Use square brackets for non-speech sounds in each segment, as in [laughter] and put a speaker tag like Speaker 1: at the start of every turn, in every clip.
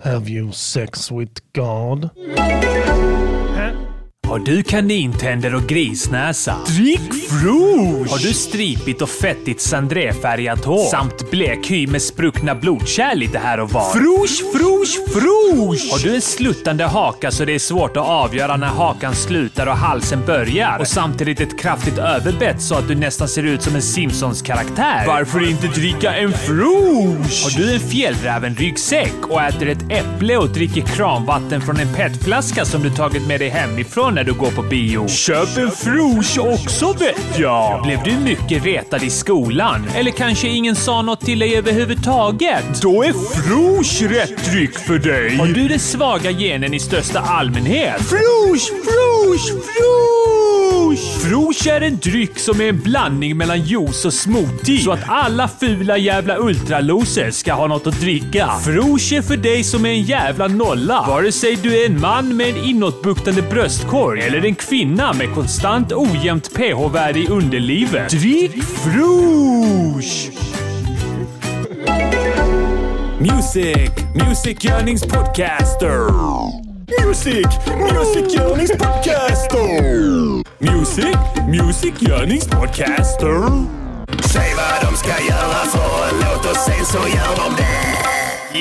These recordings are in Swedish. Speaker 1: Have you sex with God?
Speaker 2: Har du kanintänder och grisnäsa?
Speaker 3: Drick Frosch!
Speaker 2: Har du stripigt och fettigt sandréfärgat hår? Samt blek hy med spruckna blodkärl lite här och var?
Speaker 3: Frosch, frosch, frosch!
Speaker 2: Har du en sluttande haka så det är svårt att avgöra när hakan slutar och halsen börjar? Och samtidigt ett kraftigt överbett så att du nästan ser ut som en Simpsons-karaktär?
Speaker 3: Varför inte dricka en Frosch?
Speaker 2: Har du en fjällräven-ryggsäck och äter ett äpple och dricker kranvatten från en petflaska som du tagit med dig hemifrån när du går på bio?
Speaker 3: Köp en Frosch också vet jag!
Speaker 2: Blev du mycket retad i skolan? Eller kanske ingen sa något till dig överhuvudtaget?
Speaker 3: Då är Frosch rätt dryck för dig!
Speaker 2: Har du den svaga genen i största allmänhet?
Speaker 3: Frosch, frosch, frosch!
Speaker 2: Frosch är en dryck som är en blandning mellan juice och smoothie. Så att alla fula jävla ultraloser ska ha något att dricka. Frosch är för dig som är en jävla nolla. Vare sig du är en man med en inåtbuktande bröstkorg eller en kvinna med konstant ojämnt pH-värde i underlivet.
Speaker 3: Drick Frosch! Music, Music Yearnings Podcaster. Music, Music Yearnings Podcaster. Music, Music Yearnings Podcaster.
Speaker 4: Säg vad de ska göra för en låt och sen så gör de det.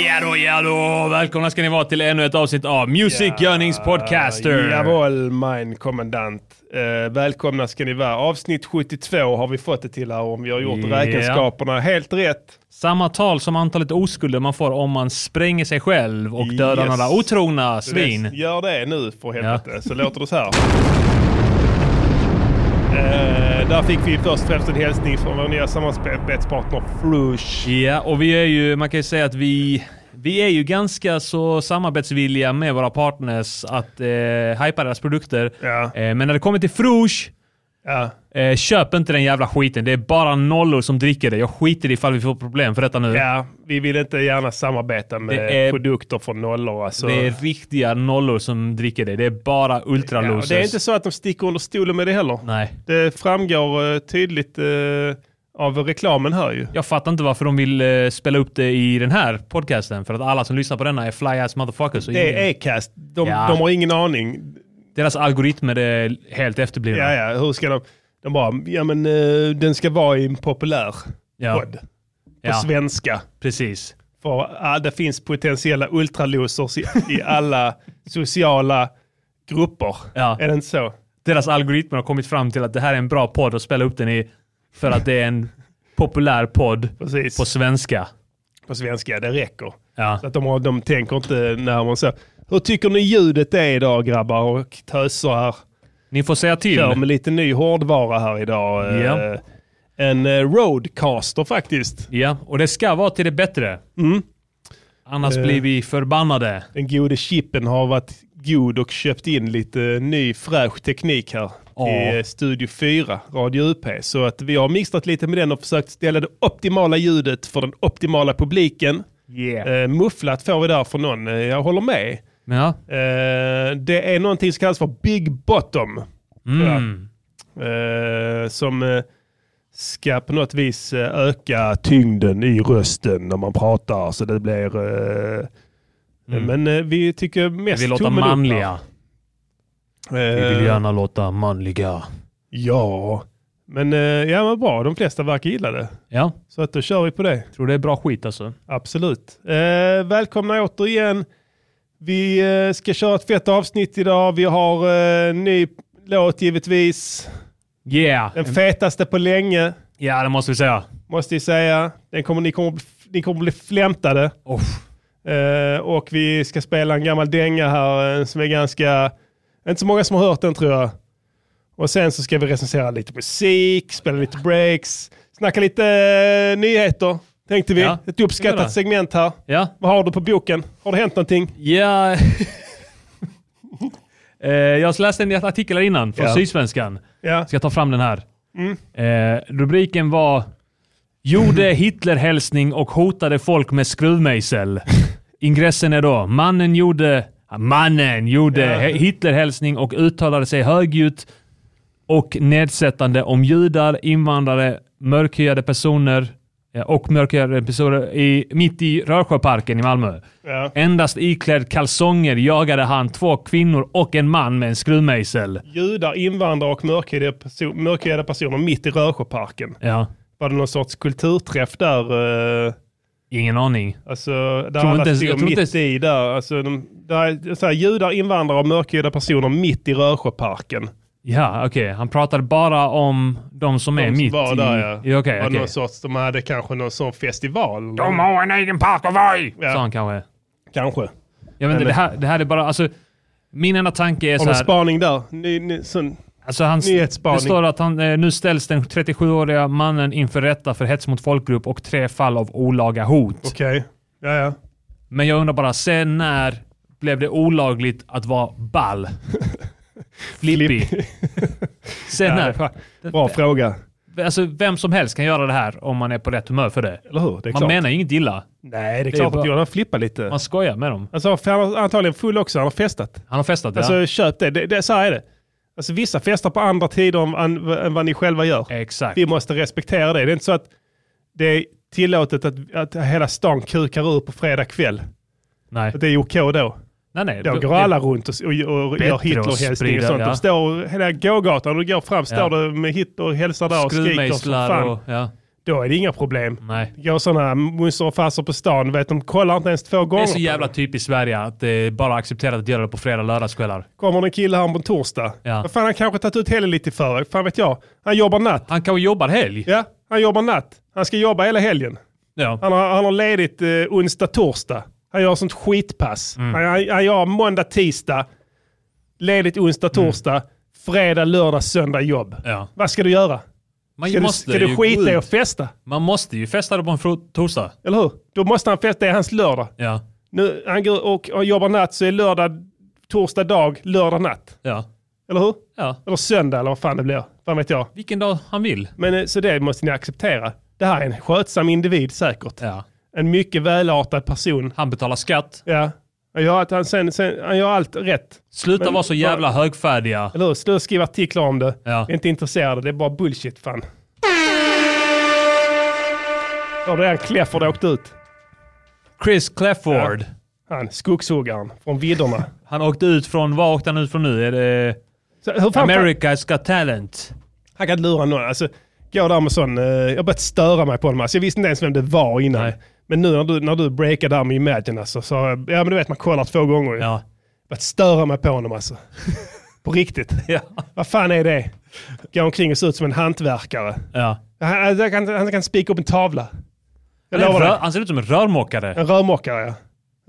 Speaker 2: Ja då, ja då! Välkomna ska ni vara till ännu ett avsnitt av Music Yearnings Podcaster.
Speaker 1: Uh, jawohl, mein kommandant. Uh, välkomna ska ni vara. Avsnitt 72 har vi fått det till här om vi har gjort
Speaker 2: Ja.
Speaker 1: räkenskaperna helt rätt.
Speaker 2: Samma tal som antalet oskulder man får om man spränger sig själv och dödar
Speaker 1: Yes.
Speaker 2: några otrogna svin.
Speaker 1: Gör det nu för helvete, så låter det så här. Eh, där fick vi först och främst en hälsning från vår nya samarbetspartner Frush.
Speaker 2: Ja, och vi är ju, man kan ju säga att vi, vi är ju ganska så samarbetsvilliga med våra partners att eh, hypa deras produkter.
Speaker 1: Ja.
Speaker 2: Eh, men när det kommer till Frouche,
Speaker 1: Ja.
Speaker 2: eh, köp inte den jävla skiten. Det är bara nollor som dricker det. Jag skiter i ifall vi får problem för detta nu.
Speaker 1: ja, vi vill inte gärna samarbeta med
Speaker 2: Det är-
Speaker 1: produkter från nollor. Alltså.
Speaker 2: Det är riktiga nollor som dricker det. Det är bara
Speaker 1: Ja, och
Speaker 2: ultralosers.
Speaker 1: det är inte så att de sticker under stolen med det heller.
Speaker 2: Nej.
Speaker 1: Det framgår eh, tydligt eh, av reklamen här ju.
Speaker 2: Jag fattar inte varför de vill eh, spela upp det i den här podcasten. För att alla som lyssnar på denna är fly-ass motherfuckers. och ingen-
Speaker 1: Det är Acast. De,
Speaker 2: Mm. Ja.
Speaker 1: de har ingen aning.
Speaker 2: Deras algoritmer är helt efterblivna.
Speaker 1: Ja, ja, hur ska de... De bara, ja men eh, den ska vara i en populär
Speaker 2: Ja.
Speaker 1: podd. På
Speaker 2: Ja,
Speaker 1: svenska.
Speaker 2: precis.
Speaker 1: För ah, det finns potentiella ultralosers i, i alla sociala grupper.
Speaker 2: Ja.
Speaker 1: Är det inte så?
Speaker 2: Deras algoritmer har kommit fram till att det här är en bra podd att spela upp den i. För att det är en populär podd
Speaker 1: Precis. På,
Speaker 2: på svenska.
Speaker 1: svenska, det räcker.
Speaker 2: Ja.
Speaker 1: Så att de, har, de tänker inte när man säger, hur tycker ni ljudet är idag grabbar och töser här?
Speaker 2: Ni får säga till.
Speaker 1: Kör med lite ny hårdvara här idag. Eh,
Speaker 2: Mm. Ja.
Speaker 1: En eh, roadcaster faktiskt.
Speaker 2: Ja, och det ska vara till det bättre. Annars
Speaker 1: Mm. Eh.
Speaker 2: blir vi förbannade.
Speaker 1: Den gode chippen har varit god och köpt in lite ny fräsch teknik här
Speaker 2: Ja.
Speaker 1: i eh, Studio 4, Radio UP. Så att vi har mixtrat lite med den och försökt ställa det optimala ljudet för den optimala publiken.
Speaker 2: Yeah.
Speaker 1: Eh, mufflat får vi där från någon, Eh, jag håller med.
Speaker 2: Ja.
Speaker 1: Eh, det är någonting som kallas för Big Bottom.
Speaker 2: Mm.
Speaker 1: Eh, som eh, ska på något vis eh, öka tyngden i rösten när man pratar. Så det blir... Eh, Men eh, vi tycker mest
Speaker 2: Mm. Vi låter
Speaker 1: tummen upp här.
Speaker 2: manliga. Vi vill
Speaker 1: Eh,
Speaker 2: gärna låta manliga.
Speaker 1: ja, men eh, ja, men bra. De flesta verkar gilla det.
Speaker 2: Ja,
Speaker 1: Så att då kör vi på det.
Speaker 2: tror det är bra skit alltså.
Speaker 1: Absolut. Eh, välkomna återigen. Vi eh, ska köra ett fett avsnitt idag. Vi har eh, ny låt givetvis.
Speaker 2: Yeah!
Speaker 1: Den fetaste på länge.
Speaker 2: Ja, det måste vi säga.
Speaker 1: måste jag säga. Den kommer, ni, kommer, ni kommer bli flämtade.
Speaker 2: Oh.
Speaker 1: Eh, och vi ska spela en gammal dänga här eh, som är ganska... Inte så många som har hört den tror jag. Och sen så ska vi recensera lite musik, spela lite breaks, snacka lite eh, nyheter tänkte vi.
Speaker 2: Ja,
Speaker 1: Ett uppskattat
Speaker 2: det.
Speaker 1: segment här.
Speaker 2: Ja.
Speaker 1: Vad har du på boken? Har det hänt någonting?
Speaker 2: Ja. [laughs] eh, jag läste en artikel här innan från
Speaker 1: Ja.
Speaker 2: Sydsvenskan.
Speaker 1: Ja.
Speaker 2: Ska jag ta fram den här? Eh, rubriken var “Gjorde Hitlerhälsning och hotade folk med skruvmejsel”. Ingressen är då “Mannen gjorde, mannen gjorde
Speaker 1: Ja.
Speaker 2: he- Hitlerhälsning och uttalade sig högljutt och nedsättande om judar, invandrare, mörkhyade personer eh, och mörkhyade personer i, mitt i Rörsjöparken i Malmö.
Speaker 1: Ja.
Speaker 2: Endast iklädd kalsonger jagade han två kvinnor och en man med en skruvmejsel.
Speaker 1: Judar, invandrare och mörkhyade perso- mörkhyade personer mitt i Rörsjöparken.
Speaker 2: Ja,
Speaker 1: Var det någon sorts kulturträff där? eh,
Speaker 2: ingen aning.
Speaker 1: Alltså, där
Speaker 2: inte
Speaker 1: alla
Speaker 2: ens- jag
Speaker 1: stod
Speaker 2: tror
Speaker 1: mitt
Speaker 2: inte ens-
Speaker 1: i där. Alltså, de, där så här, judar, invandrare och mörkhyade personer mitt i Rörsjöparken.
Speaker 2: Ja, okej. Han pratade bara om de som är
Speaker 1: De som
Speaker 2: mitt
Speaker 1: var
Speaker 2: i...
Speaker 1: där, ja.
Speaker 2: ja. Okej,
Speaker 1: var det
Speaker 2: okej.
Speaker 1: någon sorts, de hade kanske någon sån festival.
Speaker 2: De har en egen park och varg!
Speaker 1: Ja.
Speaker 2: Sa han kanske.
Speaker 1: Kanske.
Speaker 2: Jag vet inte,
Speaker 1: Eller-
Speaker 2: det här, det här är bara... Alltså, min enda tanke är
Speaker 1: Har
Speaker 2: så
Speaker 1: du
Speaker 2: här...
Speaker 1: spaning där? Ny, ny, sån,
Speaker 2: Alltså hans,
Speaker 1: Nyhetsspaning.
Speaker 2: det står att han, eh, nu ställs den 37-åriga mannen inför rätta för hets mot folkgrupp och tre fall av olaga hot.
Speaker 1: Okej. Ja, ja.
Speaker 2: Men jag undrar bara, sen när blev det olagligt att vara
Speaker 1: [laughs]
Speaker 2: ball? Flippig. sen när?
Speaker 1: Bra fråga.
Speaker 2: Alltså vem som helst kan göra det här om man är på rätt humör för det.
Speaker 1: Eller hur? Det är
Speaker 2: Man
Speaker 1: klart.
Speaker 2: menar ju inget illa.
Speaker 1: Nej, det är
Speaker 2: Det är
Speaker 1: klart
Speaker 2: bra.
Speaker 1: att Johan flippar lite.
Speaker 2: Man skojar med dem.
Speaker 1: Alltså, för han är antagligen full också. Han har festat.
Speaker 2: Han har festat
Speaker 1: Alltså,
Speaker 2: ja.
Speaker 1: köp det. det, det så här är det. Alltså, vissa festar på andra tider än, än, än vad ni själva gör.
Speaker 2: Exakt.
Speaker 1: Vi måste respektera det. Det är inte så att det är tillåtet att, att hela stan kukar ur på fredag kväll.
Speaker 2: Nej.
Speaker 1: Att det är okej då.
Speaker 2: Nej, nej.
Speaker 1: Då
Speaker 2: Det-
Speaker 1: går alla runt och, och, och gör
Speaker 2: Bättre att
Speaker 1: Hitlerhälsningar och
Speaker 2: sprida,
Speaker 1: sånt.
Speaker 2: ja.
Speaker 1: De står hela gågatan och går fram, står
Speaker 2: Ja.
Speaker 1: det med Hitler och hälsar där och skriker som
Speaker 2: Skruvmejslar
Speaker 1: fan.
Speaker 2: och... Ja.
Speaker 1: Då är det inga problem.
Speaker 2: Nej.
Speaker 1: Går sådana musser och farsor på stan, vet, de kollar inte ens två
Speaker 2: Det
Speaker 1: gånger.
Speaker 2: är så
Speaker 1: på
Speaker 2: jävla
Speaker 1: dem.
Speaker 2: typiskt Sverige att det är bara accepterat att göra det på fredag och lördagskvällar.
Speaker 1: Kommer det en kille här på en torsdag.
Speaker 2: Ja.
Speaker 1: Ja. Fan, han kanske tagit ut helgen lite för. Fan vet jag. Han jobbar natt.
Speaker 2: Han kanske jobbar helg.
Speaker 1: Ja, han jobbar natt. Han ska jobba hela helgen.
Speaker 2: Ja.
Speaker 1: Han har, han har ledigt eh, onsdag, torsdag. Han gör sånt skitpass.
Speaker 2: Mm.
Speaker 1: Han, han, han gör måndag, tisdag, ledigt onsdag, torsdag, fredag, lördag, söndag, jobb.
Speaker 2: Mm. Ja.
Speaker 1: Vad ska du göra?
Speaker 2: Man,
Speaker 1: Ska du,
Speaker 2: måste
Speaker 1: ska du
Speaker 2: ju
Speaker 1: skita
Speaker 2: gå
Speaker 1: i
Speaker 2: ut.
Speaker 1: att festa?
Speaker 2: Man måste ju festa det på en fro- torsdag.
Speaker 1: Eller hur? Då måste han festa, det är hans lördag.
Speaker 2: Ja.
Speaker 1: Nu, han går och, och jobbar natt så är lördag, torsdag dag, lördag natt.
Speaker 2: Ja.
Speaker 1: Eller hur?
Speaker 2: ja.
Speaker 1: Eller söndag eller vad fan det blir. Vad vet jag.
Speaker 2: Vilken dag han vill.
Speaker 1: Men eh, så det måste ni acceptera. Det här är en skötsam individ säkert.
Speaker 2: Ja.
Speaker 1: En mycket välartad person.
Speaker 2: Han betalar skatt.
Speaker 1: Ja. Han gör, att han, sen, sen, han gör allt rätt.
Speaker 2: Sluta
Speaker 1: Men-
Speaker 2: vara så jävla högfärdiga.
Speaker 1: Eller hur? Sluta skriva artiklar om det.
Speaker 2: Ja.
Speaker 1: Är inte intresserade. Det är bara bullshit fan. Då har redan Clefford åkt ut.
Speaker 2: Chris Clefford.
Speaker 1: Han, skogshuggaren från vidderna.
Speaker 2: Han åkte ut från, var åkte han ut från nu? Är det
Speaker 1: Så, hur fan,
Speaker 2: America's Got Talent?
Speaker 1: Han kan lura någon. Alltså, går där med sån, eh, jag har börjat störa mig på honom. Alltså, jag visste inte ens vem det var innan.
Speaker 2: Nej.
Speaker 1: Men nu när du, när du breakade där med Imagine alltså, så har jag, ja men du vet man kollar två gånger. Jag har
Speaker 2: Ja.
Speaker 1: börjat störa mig på honom alltså. på riktigt. [laughs]
Speaker 2: Ja.
Speaker 1: Vad fan är det? Går omkring och ser ut som en hantverkare.
Speaker 2: ja.
Speaker 1: Han, han, kan, han kan spika upp en tavla. Jag
Speaker 2: Han, är
Speaker 1: lovar
Speaker 2: rör,
Speaker 1: dig.
Speaker 2: han ser ut som en rörmokare.
Speaker 1: En rörmokare ja.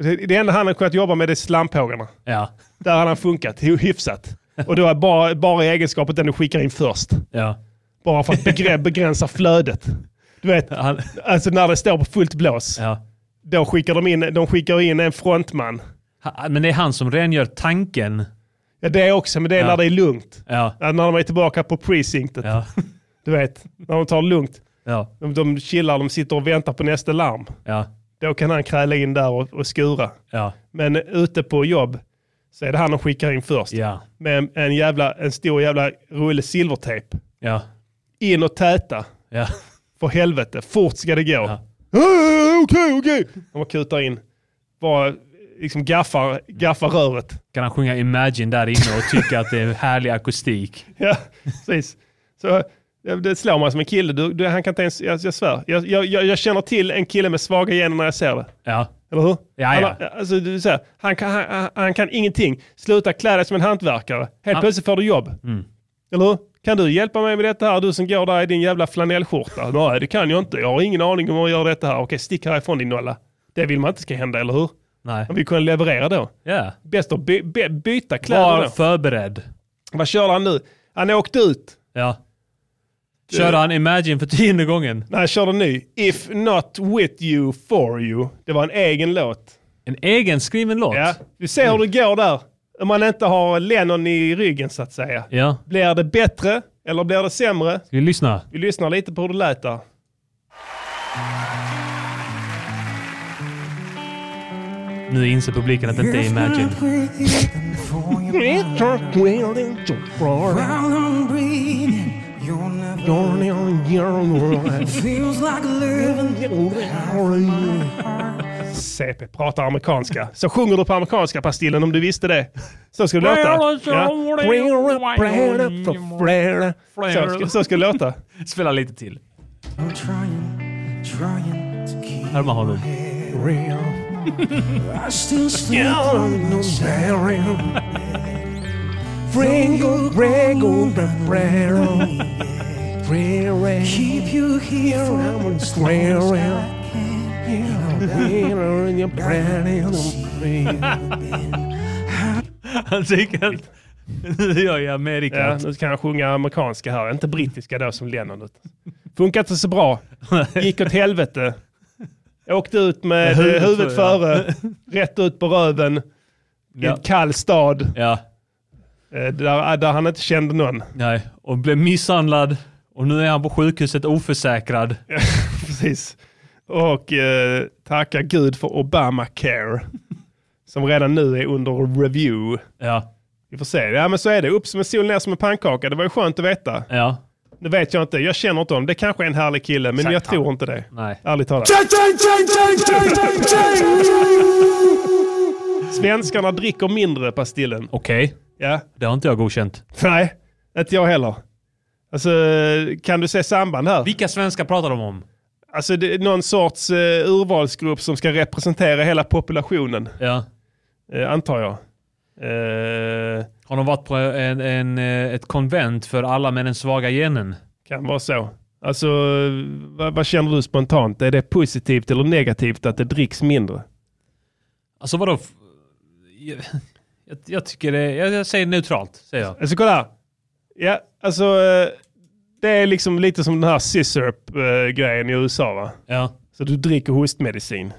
Speaker 1: Det, det enda han har kunnat jobba med det är slamphågarna.
Speaker 2: Ja.
Speaker 1: Där har han funkat hy- hyfsat. Och då är bara, bara egenskapet den du skickar in först.
Speaker 2: ja.
Speaker 1: Bara för att begre- [laughs] begränsa flödet. Du vet,
Speaker 2: Han,
Speaker 1: alltså när det står på fullt blås.
Speaker 2: ja.
Speaker 1: Då skickar de in, de skickar in en frontman.
Speaker 2: Ha- Men det är han som rengör tanken.
Speaker 1: Ja, det är också, men det är
Speaker 2: Ja.
Speaker 1: när det är lugnt.
Speaker 2: Ja.
Speaker 1: Ja, när de är tillbaka på precinctet.
Speaker 2: Ja.
Speaker 1: Du vet, när de tar det lugnt.
Speaker 2: Ja.
Speaker 1: De, de chillar, de sitter och väntar på nästa larm.
Speaker 2: Ja.
Speaker 1: Då kan han kräla in där och, och skura.
Speaker 2: Ja.
Speaker 1: Men ute på jobb så är det han de skickar in först.
Speaker 2: Ja.
Speaker 1: Med en, en, jävla, en stor jävla rulle silvertejp.
Speaker 2: Ja.
Speaker 1: In och täta.
Speaker 2: Ja.
Speaker 1: För helvete, fort ska det gå.
Speaker 2: Ja.
Speaker 1: "Ah, Okej, okej. De bara kutar in. Bara liksom gaffar, gaffar röret. [laughs]
Speaker 2: Kan han sjunga Imagine där inne och tycka att det är härlig akustik?
Speaker 1: Ja, precis. Så det- det slår mig som en kille. Du, du, han kan inte ens, jag, jag svär. Jag, jag, jag jag känner till en kille med svaga gener när jag ser det.
Speaker 2: Ja.
Speaker 1: Eller hur?
Speaker 2: Ja, ja.
Speaker 1: Han, har- alltså, du, så här, han, kan, han- han, han kan ingenting. Sluta klä dig som en hantverkare. Helt
Speaker 2: Han-
Speaker 1: plötsligt får du jobb.
Speaker 2: Mm.
Speaker 1: Eller hur? Kan du hjälpa mig med detta här? Du som går där i din jävla flanellskjorta. Nej, det kan jag inte. Jag har ingen aning om hur jag gör detta här. Okej, stick härifrån din nolla. Det vill man inte ska hända, eller hur?
Speaker 2: Nej.
Speaker 1: Han vill kunna leverera då.
Speaker 2: Ja.
Speaker 1: Bäst att by, by, byta kläder
Speaker 2: Var
Speaker 1: då.
Speaker 2: förberedd.
Speaker 1: Vad kör han nu? Han åkte ut.
Speaker 2: Ja. Körde han Imagine för tionde gången?
Speaker 1: Nej, jag körde en ny. If not with you, for you. Det var en egen låt.
Speaker 2: En egenskriven låt?
Speaker 1: Ja, du ser hur det går där. Om man inte har Lennon i ryggen så att säga.
Speaker 2: Ja.
Speaker 1: Blir det bättre eller blir det sämre?
Speaker 2: Ska vi lyssna?
Speaker 1: Vi lyssnar lite på hur det lät där.
Speaker 2: Nu inser publiken att det inte är Imagine.
Speaker 1: It's just waiting to burn.
Speaker 5: While I'm breathing, You'll never
Speaker 1: Gone.
Speaker 5: feels like living.
Speaker 1: CP pratar amerikanska. Så sjunger du på amerikanska, Pastillen, om du visste det. Så ska det låta. Ja. Så ska- Så ska det låta.
Speaker 2: Spela lite till.
Speaker 5: I'm trying, trying to keep.
Speaker 2: Här har honom.
Speaker 5: I still sleep on the side. Keep you here from as long as I can.
Speaker 2: Han tycker att nu är jag i Amerika.
Speaker 1: Ja, nu kan jag sjunga amerikanska här, inte brittiska då som Lennon. Funkar inte så bra. Gick åt helvete. Åkte ut med
Speaker 2: Med huvudet
Speaker 1: huvudet, huvudet
Speaker 2: före,
Speaker 1: före, rätt ut på röven i
Speaker 2: Ja.
Speaker 1: en kall stad
Speaker 2: Ja,
Speaker 1: eh, där, där han inte kände någon. [laughs]
Speaker 2: nej. Och blev misshandlad. Och nu är han på sjukhuset oförsäkrad.
Speaker 1: Precis. Och eh, tacka gud för Obamacare som redan nu är under review.
Speaker 2: Ja,
Speaker 1: Vi får se. Ja men så är det. Upp som en sol, ner som en pannkaka. Det var ju skönt att veta.
Speaker 2: ja,
Speaker 1: Det vet jag inte. Jag känner inte honom. Det kanske är en härlig kille, men jag tror inte det.
Speaker 2: nej.
Speaker 1: Ärligt talat. Svenskarna dricker mindre Pastillen.
Speaker 2: Okej,
Speaker 1: Ja.
Speaker 2: det har inte jag godkänt.
Speaker 1: Nej, inte jag heller. Alltså, kan du se samband här?
Speaker 2: Vilka svenskar pratar de om?
Speaker 1: Alltså, det är någon sorts eh, urvalsgrupp som ska representera hela populationen,
Speaker 2: Ja.
Speaker 1: eh, antar jag. Eh,
Speaker 2: Har de varit på en, en, eh, ett konvent för alla med den svaga genen?
Speaker 1: kan vara så. Alltså, vad, vad känner du spontant? Är det positivt eller negativt att det dricks mindre?
Speaker 2: Alltså vadå? F- Jag, jag, jag tycker det, jag, jag säger neutralt, säger jag.
Speaker 1: Alltså kolla. här. Ja, alltså eh, det är liksom lite som den här Cisurp-grejen i USA va?
Speaker 2: Ja,
Speaker 1: Så du dricker hostmedicin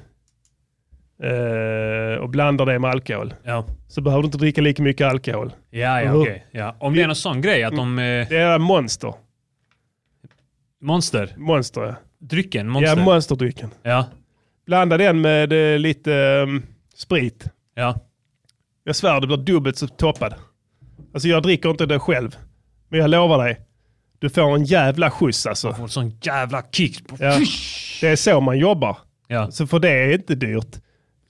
Speaker 1: eh, och blandar det med alkohol.
Speaker 2: ja.
Speaker 1: Så behöver du inte dricka lika mycket alkohol.
Speaker 2: Ja, ja,
Speaker 1: Mhm.
Speaker 2: okej. Ja. Om det är någon sån grej att de... Eh,
Speaker 1: Det är monster.
Speaker 2: monster.
Speaker 1: Monster ja.
Speaker 2: Drycken,
Speaker 1: Ja,
Speaker 2: monster. Ja,
Speaker 1: monsterdrycken.
Speaker 2: ja,
Speaker 1: Blanda den med eh, lite eh, sprit.
Speaker 2: ja.
Speaker 1: Jag svär det blir dubbelt så toppad. Alltså jag dricker inte det själv. Men jag lovar dig. Du får en jävla skjuts alltså.
Speaker 2: Och sån jävla kick. På.
Speaker 1: Ja. Det är så man jobbar.
Speaker 2: Ja.
Speaker 1: Så för det är inte dyrt.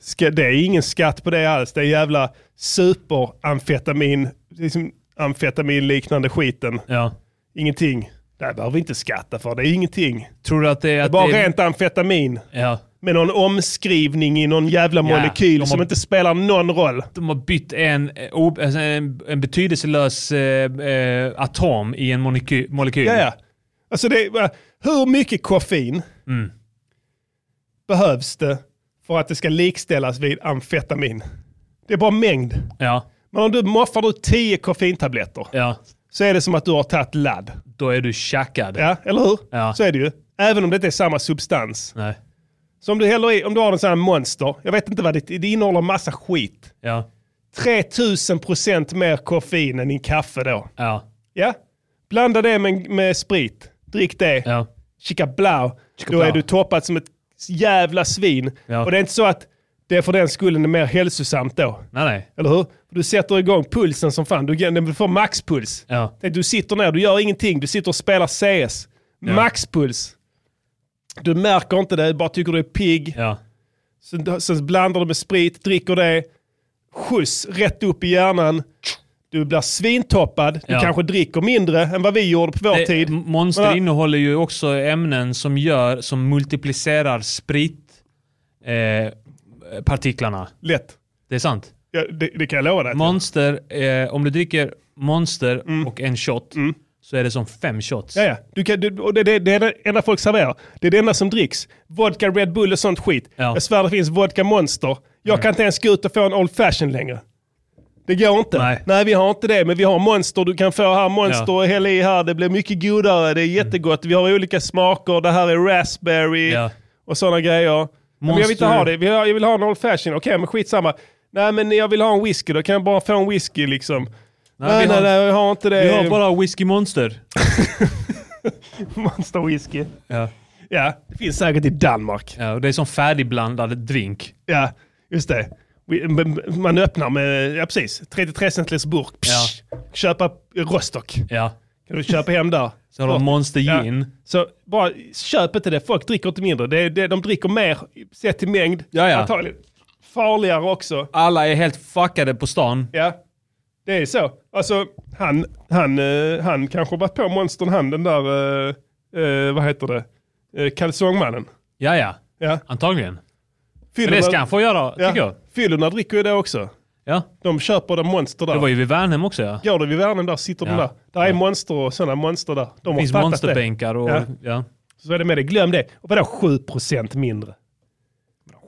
Speaker 1: Ska, det är ingen skatt på det alls. Det är jävla superamfetamin, liksom amfetaminliknande skiten.
Speaker 2: ja.
Speaker 1: Ingenting. Det här behöver vi inte skatta för. Det är ingenting.
Speaker 2: Tror du att det är... Att
Speaker 1: Bara
Speaker 2: det är,
Speaker 1: rent amfetamin.
Speaker 2: Ja.
Speaker 1: Med någon omskrivning i någon jävla
Speaker 2: Ja,
Speaker 1: molekyl
Speaker 2: de har-
Speaker 1: som inte spelar någon roll.
Speaker 2: De har bytt en, eh, o- alltså en, en betydelselös eh, eh, atom i en moleky, molekyl.
Speaker 1: Ja, ja. Alltså det är, bara, hur mycket koffein
Speaker 2: Mm.
Speaker 1: behövs det för att det ska likställas vid amfetamin? Det är bara mängd.
Speaker 2: ja,
Speaker 1: Men om du moffar ut 10 koffeintabletter
Speaker 2: ja.
Speaker 1: så är det som att du har tagit ladd.
Speaker 2: Då är du tjackad.
Speaker 1: Ja, eller hur?
Speaker 2: Ja.
Speaker 1: Så är det ju. Även om det inte är samma substans.
Speaker 2: Nej.
Speaker 1: Så om du häller i, om du har en sån här monster, jag vet inte vad det, det innehåller massa skit.
Speaker 2: Ja.
Speaker 1: 3000% mer koffein än din kaffe då.
Speaker 2: Ja.
Speaker 1: Ja, blanda det med, med sprit. Drick det.
Speaker 2: Ja.
Speaker 1: Chica blau. Då
Speaker 2: blau.
Speaker 1: är du toppad som ett jävla svin.
Speaker 2: Ja.
Speaker 1: Och det är inte så att det är för den skullen är mer hälsosamt då.
Speaker 2: Nej, nej.
Speaker 1: Eller hur? Du sätter igång pulsen som fan. Du, du får maxpuls.
Speaker 2: Ja.
Speaker 1: Tänk, Du sitter ner, du gör ingenting. Du sitter och spelar CS. Maxpuls. Du märker inte det, du bara tycker du är pigg.
Speaker 2: Ja.
Speaker 1: Sen, sen blandar du med sprit, dricker det. Skjuts rätt upp i hjärnan. Du blir svintoppad. Du
Speaker 2: Ja.
Speaker 1: kanske dricker mindre än vad vi gjorde på vår
Speaker 2: Det-
Speaker 1: tid.
Speaker 2: m- Monster
Speaker 1: Men-
Speaker 2: innehåller ju också ämnen som gör, som multiplicerar sprit eh, partiklarna.
Speaker 1: Lätt.
Speaker 2: Det är sant.
Speaker 1: Ja, det, det kan jag lova dig.
Speaker 2: Monster, eh, om du dricker Monster
Speaker 1: Mm.
Speaker 2: och en shot så är det som fem shots.
Speaker 1: Ja, ja. Du kan, du, och det, det, det är det enda folk serverar. Det är det enda som dricks. Vodka, Red Bull och sånt skit.
Speaker 2: Ja.
Speaker 1: Jag svär det finns vodka Monster. Jag kan inte ens gå ut och få en Old Fashion längre. Det går inte.
Speaker 2: Nej.
Speaker 1: vi har inte det, men vi har Monster. Du kan få här Monster
Speaker 2: Ja. Mm.
Speaker 1: och hälla i här. Det blir mycket godare. Det är jättegott. Vi har olika smaker. Det här är raspberry
Speaker 2: Ja.
Speaker 1: och sådana grejer. Ja, Men jag vill inte
Speaker 2: Monster.
Speaker 1: ha det. Vi har- Jag vill ha en Old Fashion. Okej, men skitsamma. Nej, men jag vill ha en whisky. Då kan jag bara få en whisky liksom. Nej,
Speaker 2: vi
Speaker 1: nej,
Speaker 2: har-
Speaker 1: nej, jag har inte det.
Speaker 2: Vi har bara whisky monster.
Speaker 1: [laughs] Monster whisky.
Speaker 2: Ja.
Speaker 1: Ja, det finns säkert i Danmark.
Speaker 2: Ja, och det är som färdigblandad drink.
Speaker 1: Ja, just det. Vi- m- m- Man öppnar med, ja precis, 33 centiliters burk. Psh, Köpa rostock.
Speaker 2: Ja.
Speaker 1: Kan du köpa hem där?
Speaker 2: Så har de Monster Gin.
Speaker 1: Så bara köp inte det. Folk dricker inte mindre. Det, är- det, de dricker mer sett till mängd.
Speaker 2: Ja, ja.
Speaker 1: Antagligen farligare också.
Speaker 2: Alla är helt fuckade på stan.
Speaker 1: Ja, det är så. Alltså, han, han, eh, han kanske har varit på monstern han, den där, eh, eh, vad heter det, eh, kalsongmannen.
Speaker 2: Ja, ja.
Speaker 1: Ja.
Speaker 2: Antagligen. Men
Speaker 1: Fyllorna,
Speaker 2: det ska han få göra, tycker jag.
Speaker 1: ja. Fyllorna dricker ju det också.
Speaker 2: Ja.
Speaker 1: De köper den monster där.
Speaker 2: Det var ju vid Värnhem också ja.
Speaker 1: Går du vid världen där sitter de
Speaker 2: Ja.
Speaker 1: där. Där är monster och sådana monster där. De
Speaker 2: Det finns
Speaker 1: har fattat det.
Speaker 2: monsterbänkar och...
Speaker 1: Ja.
Speaker 2: Ja.
Speaker 1: Så är det med det. Glöm det. Och vadå 7% mindre?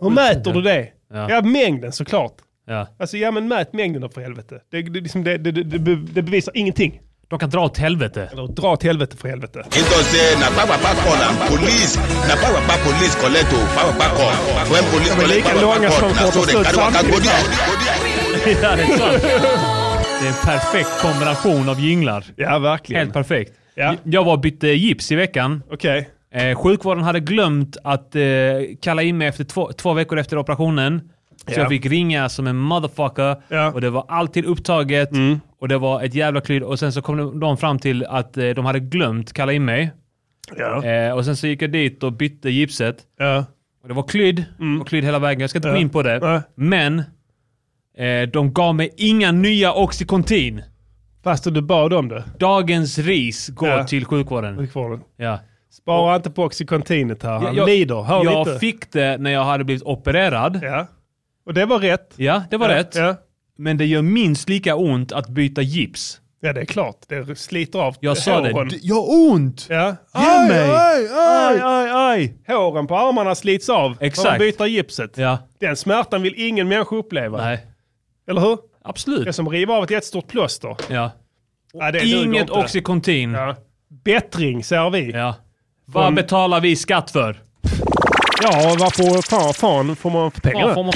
Speaker 1: Hur mäter du det? Ja.
Speaker 2: Ja.
Speaker 1: mängden såklart.
Speaker 2: Ja.
Speaker 1: Alltså ja men mät mängden då för helvete. Det, det, liksom, det, det, det, det bevisar ingenting.
Speaker 2: De kan dra åt helvete.
Speaker 1: Eller dra åt helvete för helvete.
Speaker 6: Into say na power back on and police, na power back police collect o power back on. When police
Speaker 1: men
Speaker 6: collect
Speaker 1: lika
Speaker 6: power
Speaker 1: långa
Speaker 6: back
Speaker 1: som
Speaker 6: on, na so they
Speaker 1: Korpens
Speaker 6: carry waka go
Speaker 1: samtidigt.
Speaker 6: there.
Speaker 2: Ja, det, är sant. [laughs] det är en perfekt kombination av jinglar.
Speaker 1: Ja verkligen.
Speaker 2: Helt perfekt.
Speaker 1: Ja.
Speaker 2: Jag var och bytte gips i veckan.
Speaker 1: Okej.
Speaker 2: Eh, sjukvården hade glömt att eh, kalla in mig efter två, två veckor efter operationen. Så
Speaker 1: Ja.
Speaker 2: jag fick ringa som en motherfucker
Speaker 1: Ja. Mm.
Speaker 2: och det var alltid upptaget och det var ett jävla klyd. Och sen så kom de- de fram till att eh, de hade glömt kalla in mig.
Speaker 1: Ja.
Speaker 2: Eh, och sen så gick jag dit och bytte gipset.
Speaker 1: Ja.
Speaker 2: Och det var klydd. Det var klydd hela vägen. Jag ska inte gå
Speaker 1: Mm. Ja.
Speaker 2: in på det.
Speaker 1: Nej.
Speaker 2: Men eh, de gav mig inga nya Oxycontin.
Speaker 1: Fast du bad om det.
Speaker 2: Dagens ris går
Speaker 1: Ja.
Speaker 2: till sjukvården.
Speaker 1: Sjukvården.
Speaker 2: Ja.
Speaker 1: Spara inte på Oxycontinet här. Han
Speaker 2: Jag-
Speaker 1: lider. Hör
Speaker 2: jag
Speaker 1: lite.
Speaker 2: fick det när jag hade blivit opererad. Ja,
Speaker 1: Ja. Och det var rätt.
Speaker 2: det var
Speaker 1: ja.
Speaker 2: rätt.
Speaker 1: Ja.
Speaker 2: Men det gör minst lika ont att byta gips.
Speaker 1: ja det är klart. Det sliter av
Speaker 2: Jag sa det.
Speaker 1: håren.
Speaker 2: "Du, Jag har ont!
Speaker 1: Ja.
Speaker 2: Ge mig!
Speaker 1: aj,
Speaker 2: aj, aj!
Speaker 1: Håren på armarna slits av när man
Speaker 2: Exakt.
Speaker 1: byter gipset.
Speaker 2: Ja,
Speaker 1: Den smärtan vill ingen människa uppleva.
Speaker 2: nej.
Speaker 1: Eller hur? Det är
Speaker 2: Absolut.
Speaker 1: som att riva av ett jättestort plåster.
Speaker 2: Ja.
Speaker 1: Ja, det duger
Speaker 2: Inget
Speaker 1: inte.
Speaker 2: Oxycontin. Ja.
Speaker 1: Ja. Bättring säger vi. Ja,
Speaker 2: Vad betalar vi skatt för?
Speaker 1: varför fan, fan får man för pengarna?
Speaker 2: Ja, får man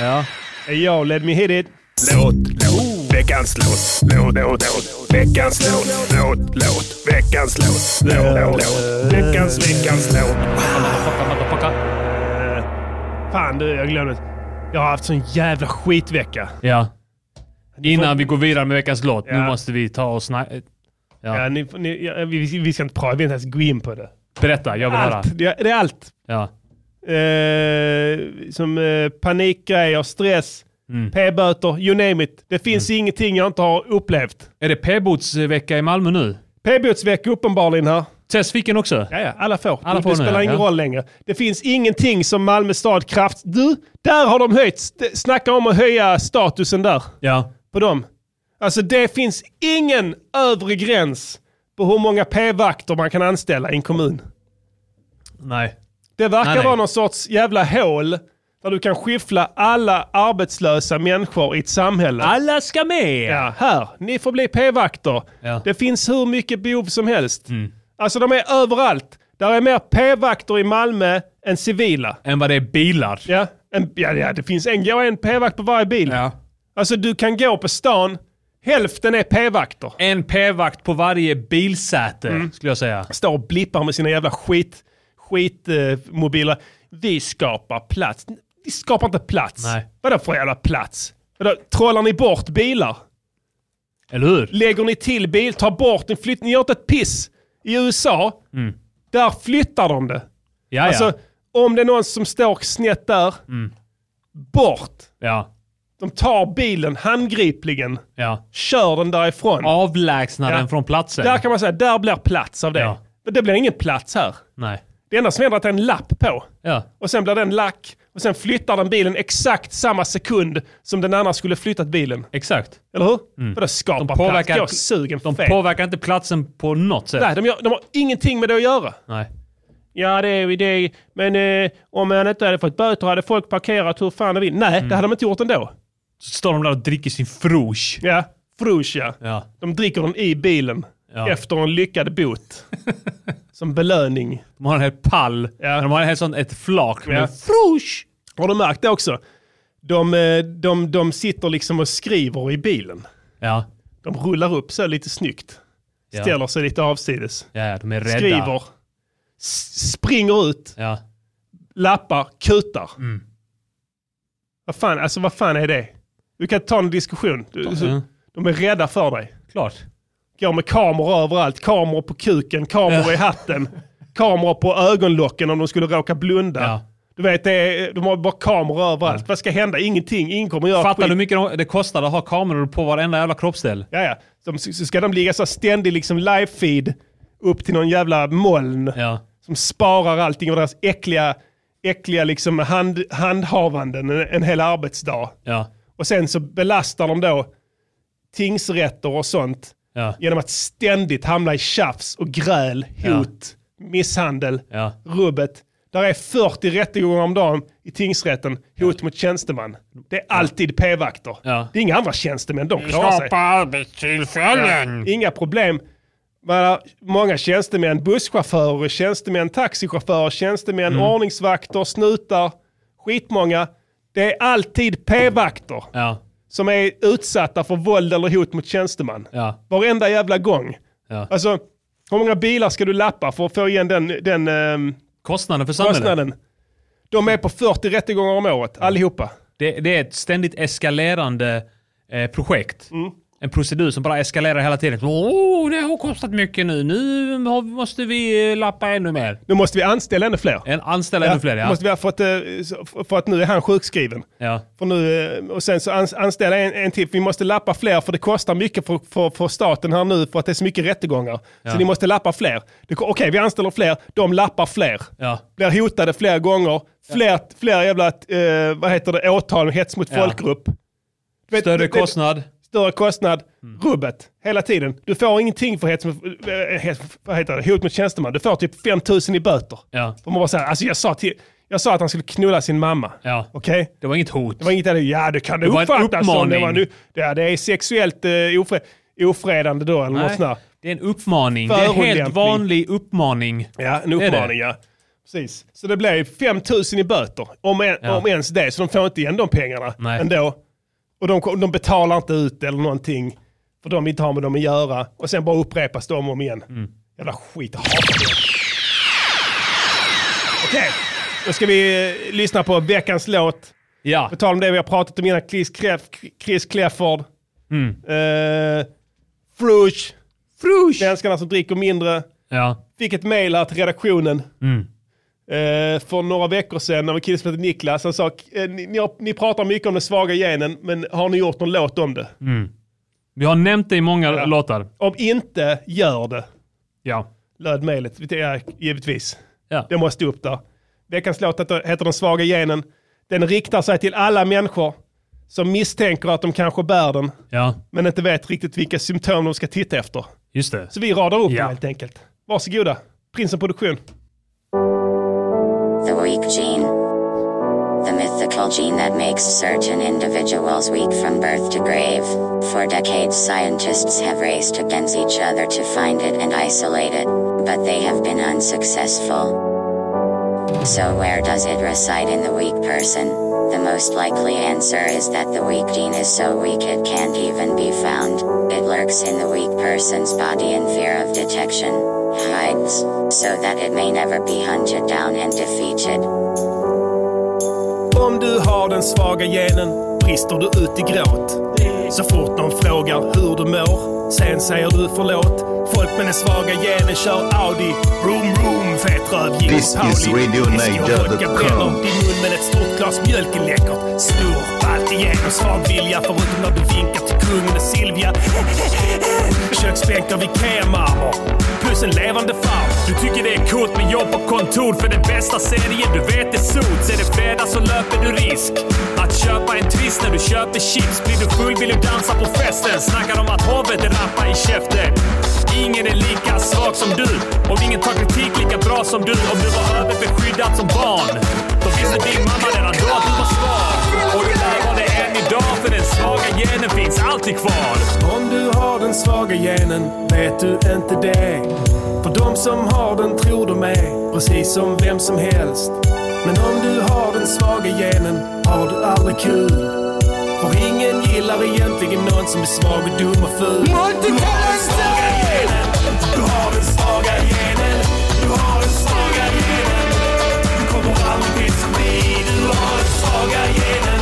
Speaker 2: [laughs] ja.
Speaker 1: Ja, let me hit it.
Speaker 7: Låt, låt, veckans låt, låt, låt, låt, veckans låt, låt, låt, veckans låt, låt, låt, låt, veckans, veckans låt.
Speaker 1: Fan du, jag glömde. Jag har haft sån jävla skitvecka.
Speaker 2: ja. Innan vi går vidare med veckans låt.
Speaker 1: Ja.
Speaker 2: Nu måste vi ta och snacka.
Speaker 1: Ja, ni, ni, ja, vi, vi ska inte prata, vi vill inte ens gå in på det.
Speaker 2: Berätta, jag
Speaker 1: Ah,
Speaker 2: vill höra.
Speaker 1: Allt, det, det är allt.
Speaker 2: Ja.
Speaker 1: Eh, som eh, panikgrejer, stress, p-böter, you name it. Det finns ingenting jag inte har upplevt.
Speaker 2: Är det p-botsvecka i Malmö nu?
Speaker 1: P-botsvecka uppenbarligen här.
Speaker 2: Tess fick en också?
Speaker 1: Ja, ja, alla får.
Speaker 2: Alla
Speaker 1: det
Speaker 2: får
Speaker 1: det
Speaker 2: nu,
Speaker 1: spelar
Speaker 2: ja.
Speaker 1: ingen
Speaker 2: Ja.
Speaker 1: roll längre. Det finns ingenting som Malmö stad kraft... Du, där har de höjt. St- Snacka om att höja statusen där.
Speaker 2: Ja.
Speaker 1: på dem. Alltså det finns ingen övre gräns på hur många p-vakter man kan anställa i en kommun.
Speaker 2: Nej.
Speaker 1: Det verkar
Speaker 2: Nej, nej.
Speaker 1: vara någon sorts jävla hål där du kan skiffla alla arbetslösa människor i ett samhälle.
Speaker 2: Alla ska med!
Speaker 1: Ja, här, ni får bli p-vakter.
Speaker 2: Ja. Mm.
Speaker 1: Det finns hur mycket behov som helst. Alltså de är överallt. Där är mer p-vakter i Malmö än civila.
Speaker 2: Än vad det är bilar.
Speaker 1: Ja, en, ja, ja det finns en, gå en p-vakt på varje bil. Alltså du kan gå på stan, hälften är p-vakter.
Speaker 2: En p-vakt på varje bilsäte,
Speaker 1: Mm.
Speaker 2: skulle jag säga.
Speaker 1: står och blippar med sina jävla skit, skitmobiler. Eh, mobiler. vi skapar plats. Vi skapar inte plats.
Speaker 2: Nej.
Speaker 1: Vadå för jävla plats? Vadå, trollar ni bort bilar?
Speaker 2: Eller hur?
Speaker 1: Lägger ni till bil? Tar bort den? Flytt, ni gör inte ett piss. I USA, där flyttar de det.
Speaker 2: Mm. Ja, Mm.
Speaker 1: Alltså,
Speaker 2: ja.
Speaker 1: om det är någon som står snett där, bort.
Speaker 2: ja.
Speaker 1: De tar bilen handgripligen,
Speaker 2: ja.
Speaker 1: kör den därifrån.
Speaker 2: Avlägsna
Speaker 1: Ja.
Speaker 2: den från platsen.
Speaker 1: Där kan man säga, där blir plats av det.
Speaker 2: Ja.
Speaker 1: Men det blir ingen plats här.
Speaker 2: Nej.
Speaker 1: Det enda som händer är att det är en lapp på.
Speaker 2: Ja.
Speaker 1: och sen blir den lack och sen flyttar den bilen exakt samma sekund som den andra skulle flyttat bilen.
Speaker 2: Exakt.
Speaker 1: Eller hur? För det skapar
Speaker 2: Mm. De påverkar-
Speaker 1: plats. Jag är sugen för
Speaker 2: De
Speaker 1: fel.
Speaker 2: påverkar inte platsen på något sätt.
Speaker 1: Nej, de, gör, de har ingenting med det att göra.
Speaker 2: Nej.
Speaker 1: Ja, det är ju det. Men eh, om man inte hade fått böter hade folk parkerat hur fan de vill. Nej,
Speaker 2: Mm.
Speaker 1: det hade de inte gjort ändå.
Speaker 2: Så står de där och dricker sin frouche.
Speaker 1: Ja, Frusia.
Speaker 2: Ja.
Speaker 1: De dricker den i bilen
Speaker 2: Ja.
Speaker 1: efter en lyckad
Speaker 2: [laughs]
Speaker 1: bot. som belöning.
Speaker 2: De har en hel pall.
Speaker 1: Ja.
Speaker 2: De har en hel sån, ett flak.
Speaker 1: Ja.
Speaker 2: Med frouche!
Speaker 1: Har du märkt det också? De, eh, de, de sitter liksom och skriver i bilen.
Speaker 2: Ja.
Speaker 1: De rullar upp så lite snyggt.
Speaker 2: Ja.
Speaker 1: Ställer sig lite avsides.
Speaker 2: Ja, ja, de är rädda.
Speaker 1: Skriver. S- springer ut.
Speaker 2: Ja.
Speaker 1: Lappar. Kutar.
Speaker 2: Mm.
Speaker 1: Vad, fan, alltså, vad fan är det? Du kan ta en diskussion. Du, så,
Speaker 2: Mm.
Speaker 1: de De är rädda för dig.
Speaker 2: Klart.
Speaker 1: Går med kameror överallt. Kameror på kuken, kameror i hatten. Kameror på ögonlocken om de skulle råka blunda.
Speaker 2: Ja.
Speaker 1: Du vet, det är, de har bara kameror överallt. Vad ska hända? Ingenting. Ingen kommer göra
Speaker 2: Fattar
Speaker 1: skit.
Speaker 2: du hur mycket de- det kostar att ha kameror på varenda jävla kroppsdel?
Speaker 1: Ja, ja. De, så ska de ligga så här ständig liksom live-feed upp till någon jävla moln
Speaker 2: Ja.
Speaker 1: som sparar allting av deras äckliga, äckliga liksom hand, handhavanden en, en hel arbetsdag.
Speaker 2: Ja.
Speaker 1: Och sen så belastar de då tingsrätter och sånt
Speaker 2: Ja.
Speaker 1: genom att ständigt hamna i tjafs och gräl, hot, misshandel,
Speaker 2: Ja.
Speaker 1: rubbet. Där är 40 rättegångar om dagen i tingsrätten, hot mot tjänsteman. Det är alltid p-vakter.
Speaker 2: Ja.
Speaker 1: Det är inga andra tjänstemän, de klarar sig.
Speaker 8: arbetstillfällen.
Speaker 1: Inga problem. Men många tjänstemän, busschaufförer, tjänstemän, taxichaufförer, tjänstemän,
Speaker 2: Mm.
Speaker 1: ordningsvakter, snutar, skitmånga. Det är alltid p-vakter
Speaker 2: Ja.
Speaker 1: som är utsatta för våld eller hot mot tjänsteman.
Speaker 2: Ja.
Speaker 1: Varenda jävla gång.
Speaker 2: Ja.
Speaker 1: Alltså, hur många bilar ska du lappa för att få igen den, den ehm,
Speaker 2: Kostnaden för samhället.
Speaker 1: kostnaden? De är på 40 rättegångar om året, allihopa.
Speaker 2: Det, det är ett ständigt eskalerande eh, projekt.
Speaker 1: Mm.
Speaker 2: En procedur som bara eskalerar hela tiden. Åh, det har kostat mycket nu. Nu har- måste vi eh, lappa ännu mer.
Speaker 1: Nu måste vi anställa ännu fler.
Speaker 2: En, anställa ännu fler, ja.
Speaker 1: Måste vi ha fått, eh, så- för att nu är han sjukskriven.
Speaker 2: ja.
Speaker 1: För nu, eh, och sen så ans- anställa en, en till. Vi måste lappa fler för det kostar mycket för, för, för staten här nu för att det är så mycket rättegångar. Så ni måste lappa fler. Det- Okej, vi anställer fler. De lappar fler.
Speaker 2: Ja.
Speaker 1: Blir hotade fler gånger. Fler, fler jävla, eh, vad heter det, åtal om hets mot
Speaker 2: Ja.
Speaker 1: folkgrupp. Du vet, det-
Speaker 2: Större
Speaker 1: det-
Speaker 2: kostnad. Mm.
Speaker 1: Större kostnad. Rubbet. Hela tiden. Du får ingenting för hets mot, eh, hets, vad heter det, hot mot tjänsteman. Du får typ 5 000 i böter.
Speaker 2: Ja.
Speaker 1: För man bara säger, alltså jag sa, till, jag sa att han skulle knulla sin mamma.
Speaker 2: Ja.
Speaker 1: Okej?
Speaker 2: Det var inget hot.
Speaker 1: Det var inget där, ja det kan det,
Speaker 2: Det var en
Speaker 1: uppfattas som. Det, var nu,
Speaker 2: uppmaning.
Speaker 1: ja, det är sexuellt eh, ofre, ofredande då eller något sånt där.
Speaker 2: Det är en uppmaning. Det är en helt
Speaker 1: Förolämpning.
Speaker 2: vanlig uppmaning.
Speaker 1: Ja, en
Speaker 2: är det.
Speaker 1: uppmaning ja. Precis. Så det blev 5 000 i böter, om, en,
Speaker 2: Ja.
Speaker 1: om ens det. Så de får inte igen de pengarna
Speaker 2: Nej.
Speaker 1: ändå. Och de, de betalar inte ut eller någonting. För de inte har med dem att göra. Och sen bara upprepas de om och om igen.
Speaker 2: Mm.
Speaker 1: Jävla skit, jag hatar det. Okej, då ska vi eh, lyssna på veckans låt.
Speaker 2: Ja.
Speaker 1: På tal om det vi har pratat om innan, Chris, Kref- Chris Clefford. Mm. Frush. Svenskarna som dricker mindre.
Speaker 2: Ja.
Speaker 1: Fick ett mail här till redaktionen. Eh, för några veckor sedan av en kille som heter Niklas. Han sa, eh, ni, ni, har, ni pratar mycket om den svaga genen, men har ni gjort någon låt om det?
Speaker 2: Vi har nämnt det i många låtar.
Speaker 1: Om inte, gör det.
Speaker 2: Ja.
Speaker 1: Löd mejlet, Det är givetvis.
Speaker 2: Ja.
Speaker 1: Det måste upp där. Veckans låt heter heter Den svaga genen. Den riktar sig till alla människor som misstänker att de kanske bär den,
Speaker 2: Ja.
Speaker 1: men inte vet riktigt vilka symptom de ska titta efter.
Speaker 2: Just det.
Speaker 1: Så vi radar upp
Speaker 2: Ja.
Speaker 1: dem helt enkelt. Varsågoda, Prinsen Produktion.
Speaker 9: The weak gene. The mythical gene that makes certain individuals weak from birth to grave. For decades, scientists have raced against each other to find it and isolate it, but they have been unsuccessful. So, where does it reside in the weak person? The most likely answer is that the weak gene is so weak it can't even be found. It lurks in the weak person's body in fear of detection, hides, so that it may never be hunted down and defeated.
Speaker 1: Om du har den svaga genen brister du ut i gråt. Så fort någon frågar hur du mår, sen säger du förlåt. Folk med den svaga genen kör Audi. Vroom, vroom, fet röv, gin
Speaker 6: This
Speaker 1: Pauli.
Speaker 6: is RadioNiger.com.
Speaker 1: Whisky och vodka bränner Din mun med ett stort glas mjölk är läckert. Snurp allt igenom svag vilja, förutom när du vinkar till kungen och Silvia. Köksbänk av Ikea-marmor, plus en levande farmor.
Speaker 3: Du tycker det är coolt med jobb och kontor för den bästa serien du vet är sots. Är det fredag så löper du risk att köpa en twist när du köper chips. Blir du full vill du dansa på festen. Snackar om att hovet är rappa i käften. Ingen är lika svag som du och ingen tar kritik lika bra som du. Om du var överbeskyddad som barn, då visste din mamma redan då att du var svag. Och du lär vara det än idag för den svaga genen finns alltid kvar.
Speaker 7: Om du har den svaga genen vet du inte det. För de som har den tror de är precis som vem som helst. Men om du har den svaga genen har du aldrig kul. För ingen gillar egentligen någon som är svag och dum och ful. Du har den svaga genen. Du har den svaga genen. Du har den svaga genen. Du kommer aldrig bli som vi. Du har den svaga genen.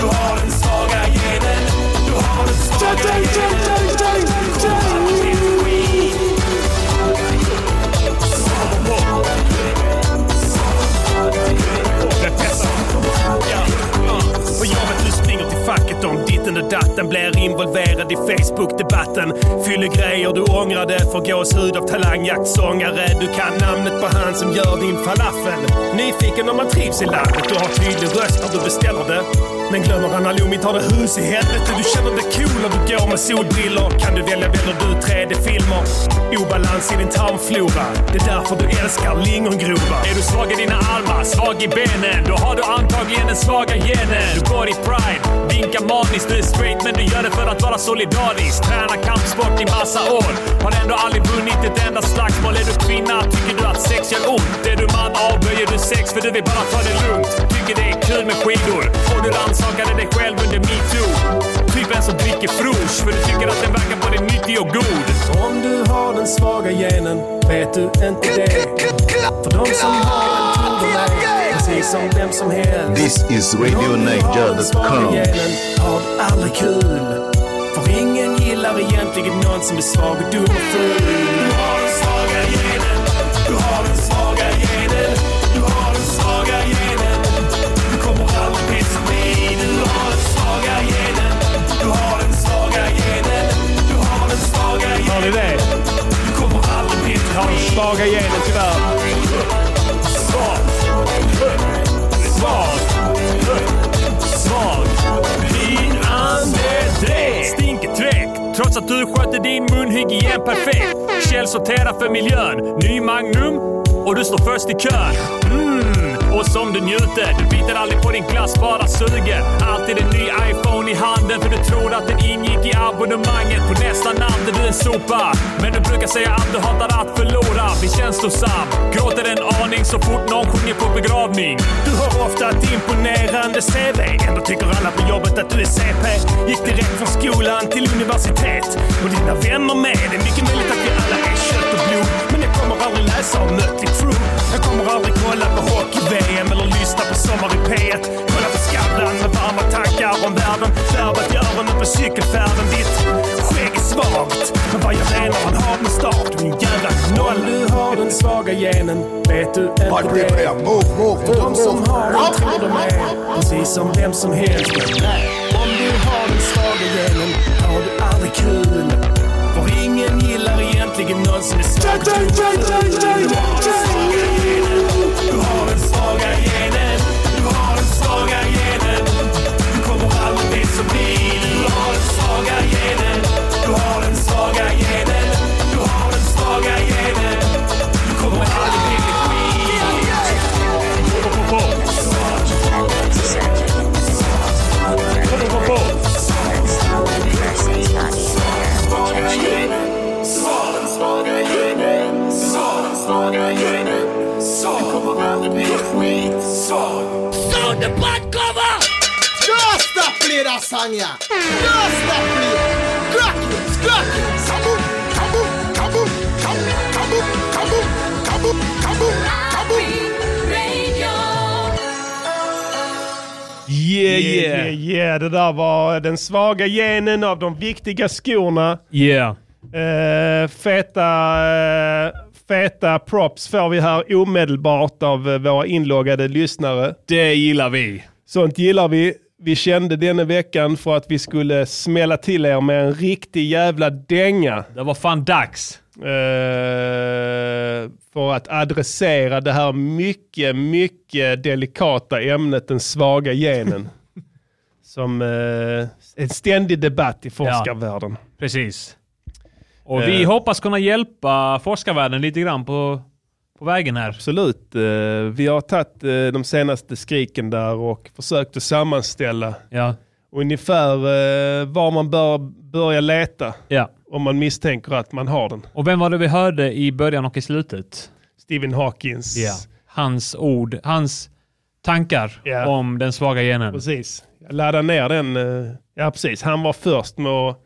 Speaker 7: Du har den svaga genen. Du har den svaga genen. under datten blir involverad i Facebook-debatten. Fyller grejer du ångrade, får gåshud av talangjaktsångare. Du kan namnet på han som gör din falafel. Nyfiken om man trivs i landet, du har tydlig röst när du beställer det. Men glömmer han halloumi tar det hus i helvete. Du känner dig cool när du går med solbrillor. Kan du välja väljer du 3D-filmer. Obalans i din tarmflora. Det är därför du älskar lingongrova.
Speaker 2: Är du svag i dina armar, svag i benen, då har du antagligen den svaga genen. Du går i pride, vinkar maniskt, du är straight men du gör det för att vara solidarisk. Tränar kampsport i massa år, har ändå aldrig vunnit ett enda slagsmål. Är du kvinna, tycker du att sex gör ont. Är du man, avböjer du sex för du vill bara ta det lugnt. Tycker det är kul med skidor, och du rannsakade dig själv under metoo. Typen som dricker Frosch, för du tycker att den verkar både nyttig och god.
Speaker 7: Om du har den svaga genen vet du inte det. För de som har den tror de mig, precis som vem som helst.
Speaker 6: This is
Speaker 7: Radionaja.com.
Speaker 6: radionaja.com.
Speaker 7: Har aldrig kul. För ingen gillar egentligen någon som är svag och dum och ful. Du har den svaga genen. Du har den svaga genen. Du har den svaga genen. Du kommer aldrig bli som vi. Du har den svaga genen. Du har den svaga genen. Du har den svaga genen.
Speaker 1: Har ni det?
Speaker 7: Du kommer aldrig bli som
Speaker 1: Har den svaga genen tyvärr.
Speaker 7: Svag. Svag.
Speaker 2: Svag. Din andedräkt stinker tvätt. Trots att du sköter din munhygien perfekt. Källsortera för miljön. Ny Magnum och du står först i kön. Mm. Och som du njuter. Du biter aldrig på din glass, bara suger. Alltid en ny iPhone i handen för du tror att den ingick i abonnemanget. På nästa natt är du en sopa. Men du brukar säga att du hatar att förlora. Blir känslosam. Gråter en aning så fort någon sjunger på begravning.
Speaker 7: Du har ofta ett imponerande CV. Ändå tycker alla på jobbet att du är CP. Gick direkt från skolan till universitet. Och dina vänner med. Det är mycket möjligt att vi alla är kött och blod. Men jag kommer aldrig läsa om Mötley Crüe. Jag kommer aldrig kolla på hockey-VM eller lyssna på Sommar i P1. Kolla på Skavlan med varma tankar om världen. Värvat i öronen på cykelfärden. Ditt skägg är svagt. Men vad jag menar, han har med start. Du är en jävla nolla. Du har den svaga genen. Vet du
Speaker 6: Party player, move, move,
Speaker 7: för
Speaker 6: move,
Speaker 7: de som har den
Speaker 6: move.
Speaker 7: tror de är precis som vem som helst. Om du har den svaga genen har du aldrig kul. För ingen gillar egentligen någon som är svag. Du har den svaga genen, du har den svaga genen, du har den svaga genen. Du kommer aldrig bli som vi. Du har den svaga genen, du har den svaga genen, du har den svaga genen. Du kommer aldrig bli som vi.
Speaker 10: Don't stop play that song, yeah. Don't stop play. Crack it, crack it. Kaboom, kaboom, kaboom, kaboom, kaboom, kaboom, kaboom, kaboom, kaboom.
Speaker 1: Yeah, yeah, yeah, yeah. Det där var den svaga genen av de viktiga skorna.
Speaker 11: Yeah.
Speaker 1: Eh, feta, eh, feta props får vi här omedelbart av eh, våra inloggade lyssnare.
Speaker 11: Det gillar vi.
Speaker 1: Sånt gillar vi. Vi kände denna veckan för att vi skulle smälla till er med en riktig jävla dänga.
Speaker 11: Det var fan dags.
Speaker 1: eh, för att adressera det här mycket, mycket delikata ämnet den
Speaker 11: [laughs]
Speaker 1: svaga genen. som eh, en ständig debatt i forskarvärlden. Eh,
Speaker 11: Precis. Och vi hoppas kunna hjälpa forskarvärlden lite grann på, på vägen här.
Speaker 1: Absolut. Eh, vi har tagit eh, de senaste skriken där och försökt att sammanställa
Speaker 11: Ja.
Speaker 1: ungefär eh, var man bör börja leta
Speaker 11: ja.
Speaker 1: om man misstänker att man har den.
Speaker 11: Och vem var det vi hörde i början och i slutet?
Speaker 1: Stephen Hawkins.
Speaker 11: Hans ord, hans tankar
Speaker 1: Ja.
Speaker 11: om den svaga genen.
Speaker 1: Precis. Jag laddade ner den. eh, Ja, precis. Han var först med att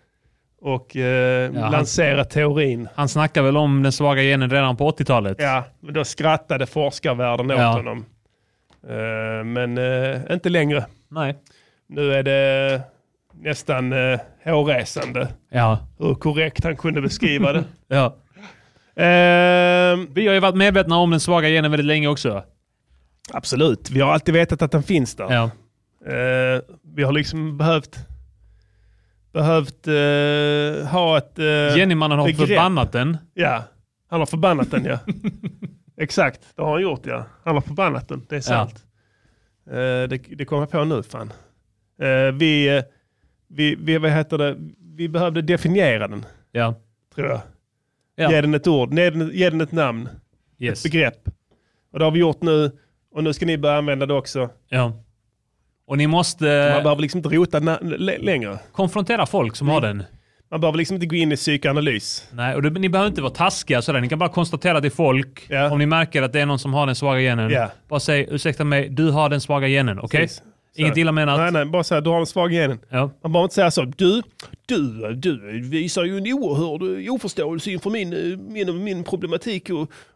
Speaker 1: och, eh,
Speaker 11: han-
Speaker 1: lansera teorin.
Speaker 11: Han snackade väl om den svaga genen redan på 80-talet?
Speaker 1: Ja, men då skrattade forskarvärlden åt
Speaker 11: Ja.
Speaker 1: honom. Eh, men eh, inte längre.
Speaker 11: Nej.
Speaker 1: Nu är det nästan eh, hårresande
Speaker 11: Ja.
Speaker 1: hur korrekt han kunde beskriva det. [laughs]
Speaker 11: ja.
Speaker 1: Ehm,
Speaker 11: Vi har ju varit medvetna om den svaga genen väldigt länge också.
Speaker 1: absolut, Ehm, vi har alltid vetat att den finns där.
Speaker 11: Ja.
Speaker 1: Eh, vi har liksom behövt behövt eh, ha ett eh,
Speaker 2: Jennymannen har
Speaker 1: begrepp.
Speaker 2: förbannat den.
Speaker 1: Ja, han har förbannat den ja. [laughs] Exakt, det har han gjort ja. Han har förbannat den, det är sant. Eh, det, det kom jag på nu fan. Eh, vi, eh, vi, vi, vad heter det? vi behövde definiera den.
Speaker 2: Ja.
Speaker 1: Tror jag.
Speaker 2: Ja.
Speaker 1: Ge den ett ord, ge den, ge den ett namn.
Speaker 2: Yes.
Speaker 1: Ett begrepp. Och det har vi gjort nu. Och nu ska ni börja använda det också.
Speaker 2: Ja. Och ni måste...
Speaker 1: Man behöver liksom inte rota na- l- längre.
Speaker 2: Konfrontera folk som har
Speaker 1: Mm.
Speaker 2: den.
Speaker 1: Man behöver liksom inte gå in i psykoanalys.
Speaker 2: Nej, och det, ni behöver inte vara taskiga sådär. Ni kan bara konstatera till folk, om ni märker att det är någon som har den svaga genen.
Speaker 1: Ja.
Speaker 2: Bara säg, ursäkta mig, du har den svaga genen, okej?
Speaker 1: Precis.
Speaker 2: Inget
Speaker 1: Så.
Speaker 2: illa menat.
Speaker 1: Nej, nej, bara så här, du har en svag genen. Man behöver inte säga så, du, du, du visar ju en oerhörd eh, oförståelse inför min, eh, min, min problematik och,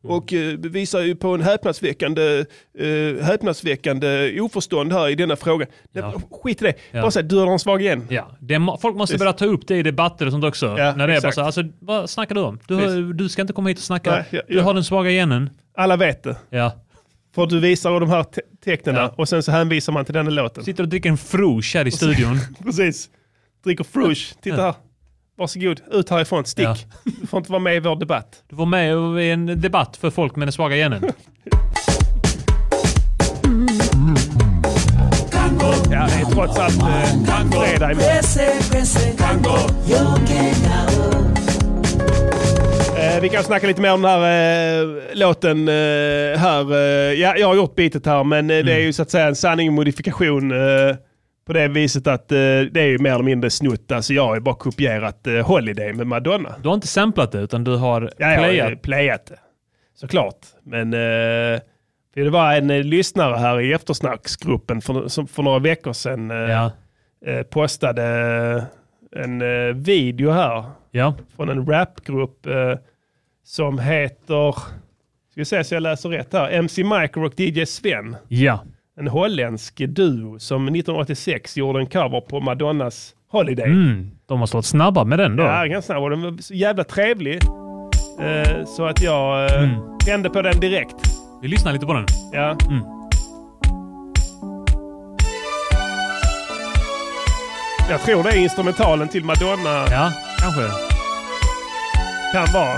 Speaker 2: Mm.
Speaker 1: och eh, visar ju på en häpnadsväckande, eh, häpnadsväckande oförstånd här i denna fråga. Nej, Skit i det,
Speaker 2: Ja.
Speaker 1: bara säga du har en svag gen.
Speaker 2: Ja. Det, må- folk måste
Speaker 1: Precis.
Speaker 2: börja ta upp det i debatter och sånt också.
Speaker 1: Ja,
Speaker 2: när det är bara
Speaker 1: exakt.
Speaker 2: så här, alltså, vad snackar du om? Du, har,
Speaker 1: Precis.
Speaker 2: du ska inte komma hit och snacka.
Speaker 1: Nej, ja,
Speaker 2: Du har den svaga genen.
Speaker 1: Alla vet det.
Speaker 2: Ja.
Speaker 1: För att du visar de här te- tecknen och sen så hänvisar man till den här låten.
Speaker 2: Sitter och dricker en frush här i studion.
Speaker 1: [laughs] Precis. Dricker frush. Titta här. Varsågod, ut härifrån. Stick.
Speaker 2: Ja.
Speaker 1: Du får inte vara med i vår debatt.
Speaker 2: Du var med i en debatt för folk med den svaga genen.
Speaker 1: Ja, det är trots allt eh, fredag imorgon. Eh, vi kan snacka lite mer om den här eh, låten. Eh, här, eh, ja, jag har gjort bitet här, men eh, det är ju så att säga en sanning och modifikation. Eh, på det viset att eh, det är ju mer eller mindre snutt. Alltså jag har ju bara kopierat eh, Holiday med Madonna.
Speaker 2: Du har inte samplat det, utan du har
Speaker 1: Ja, jag har
Speaker 2: playat.
Speaker 1: ju playat det. Såklart. Men eh, för det var en eh, lyssnare här i eftersnacksgruppen för, som för några veckor sedan eh, eh, postade eh, en eh, video här från en rapgrupp eh, som heter, ska vi se så jag läser rätt här, MC Micro och DJ Sven.
Speaker 2: Ja.
Speaker 1: En holländsk duo som 1986 gjorde en cover på Madonnas Holiday.
Speaker 2: Mm, de har slått snabba med den då.
Speaker 1: Ja, ganska snabb. Och den var så jävla trevlig. Eh, så att jag eh, tände på den direkt.
Speaker 2: Vi lyssnar lite på den.
Speaker 1: Ja. Jag tror det är instrumentalen till Madonna.
Speaker 2: Ja, kanske.
Speaker 1: Kan vara.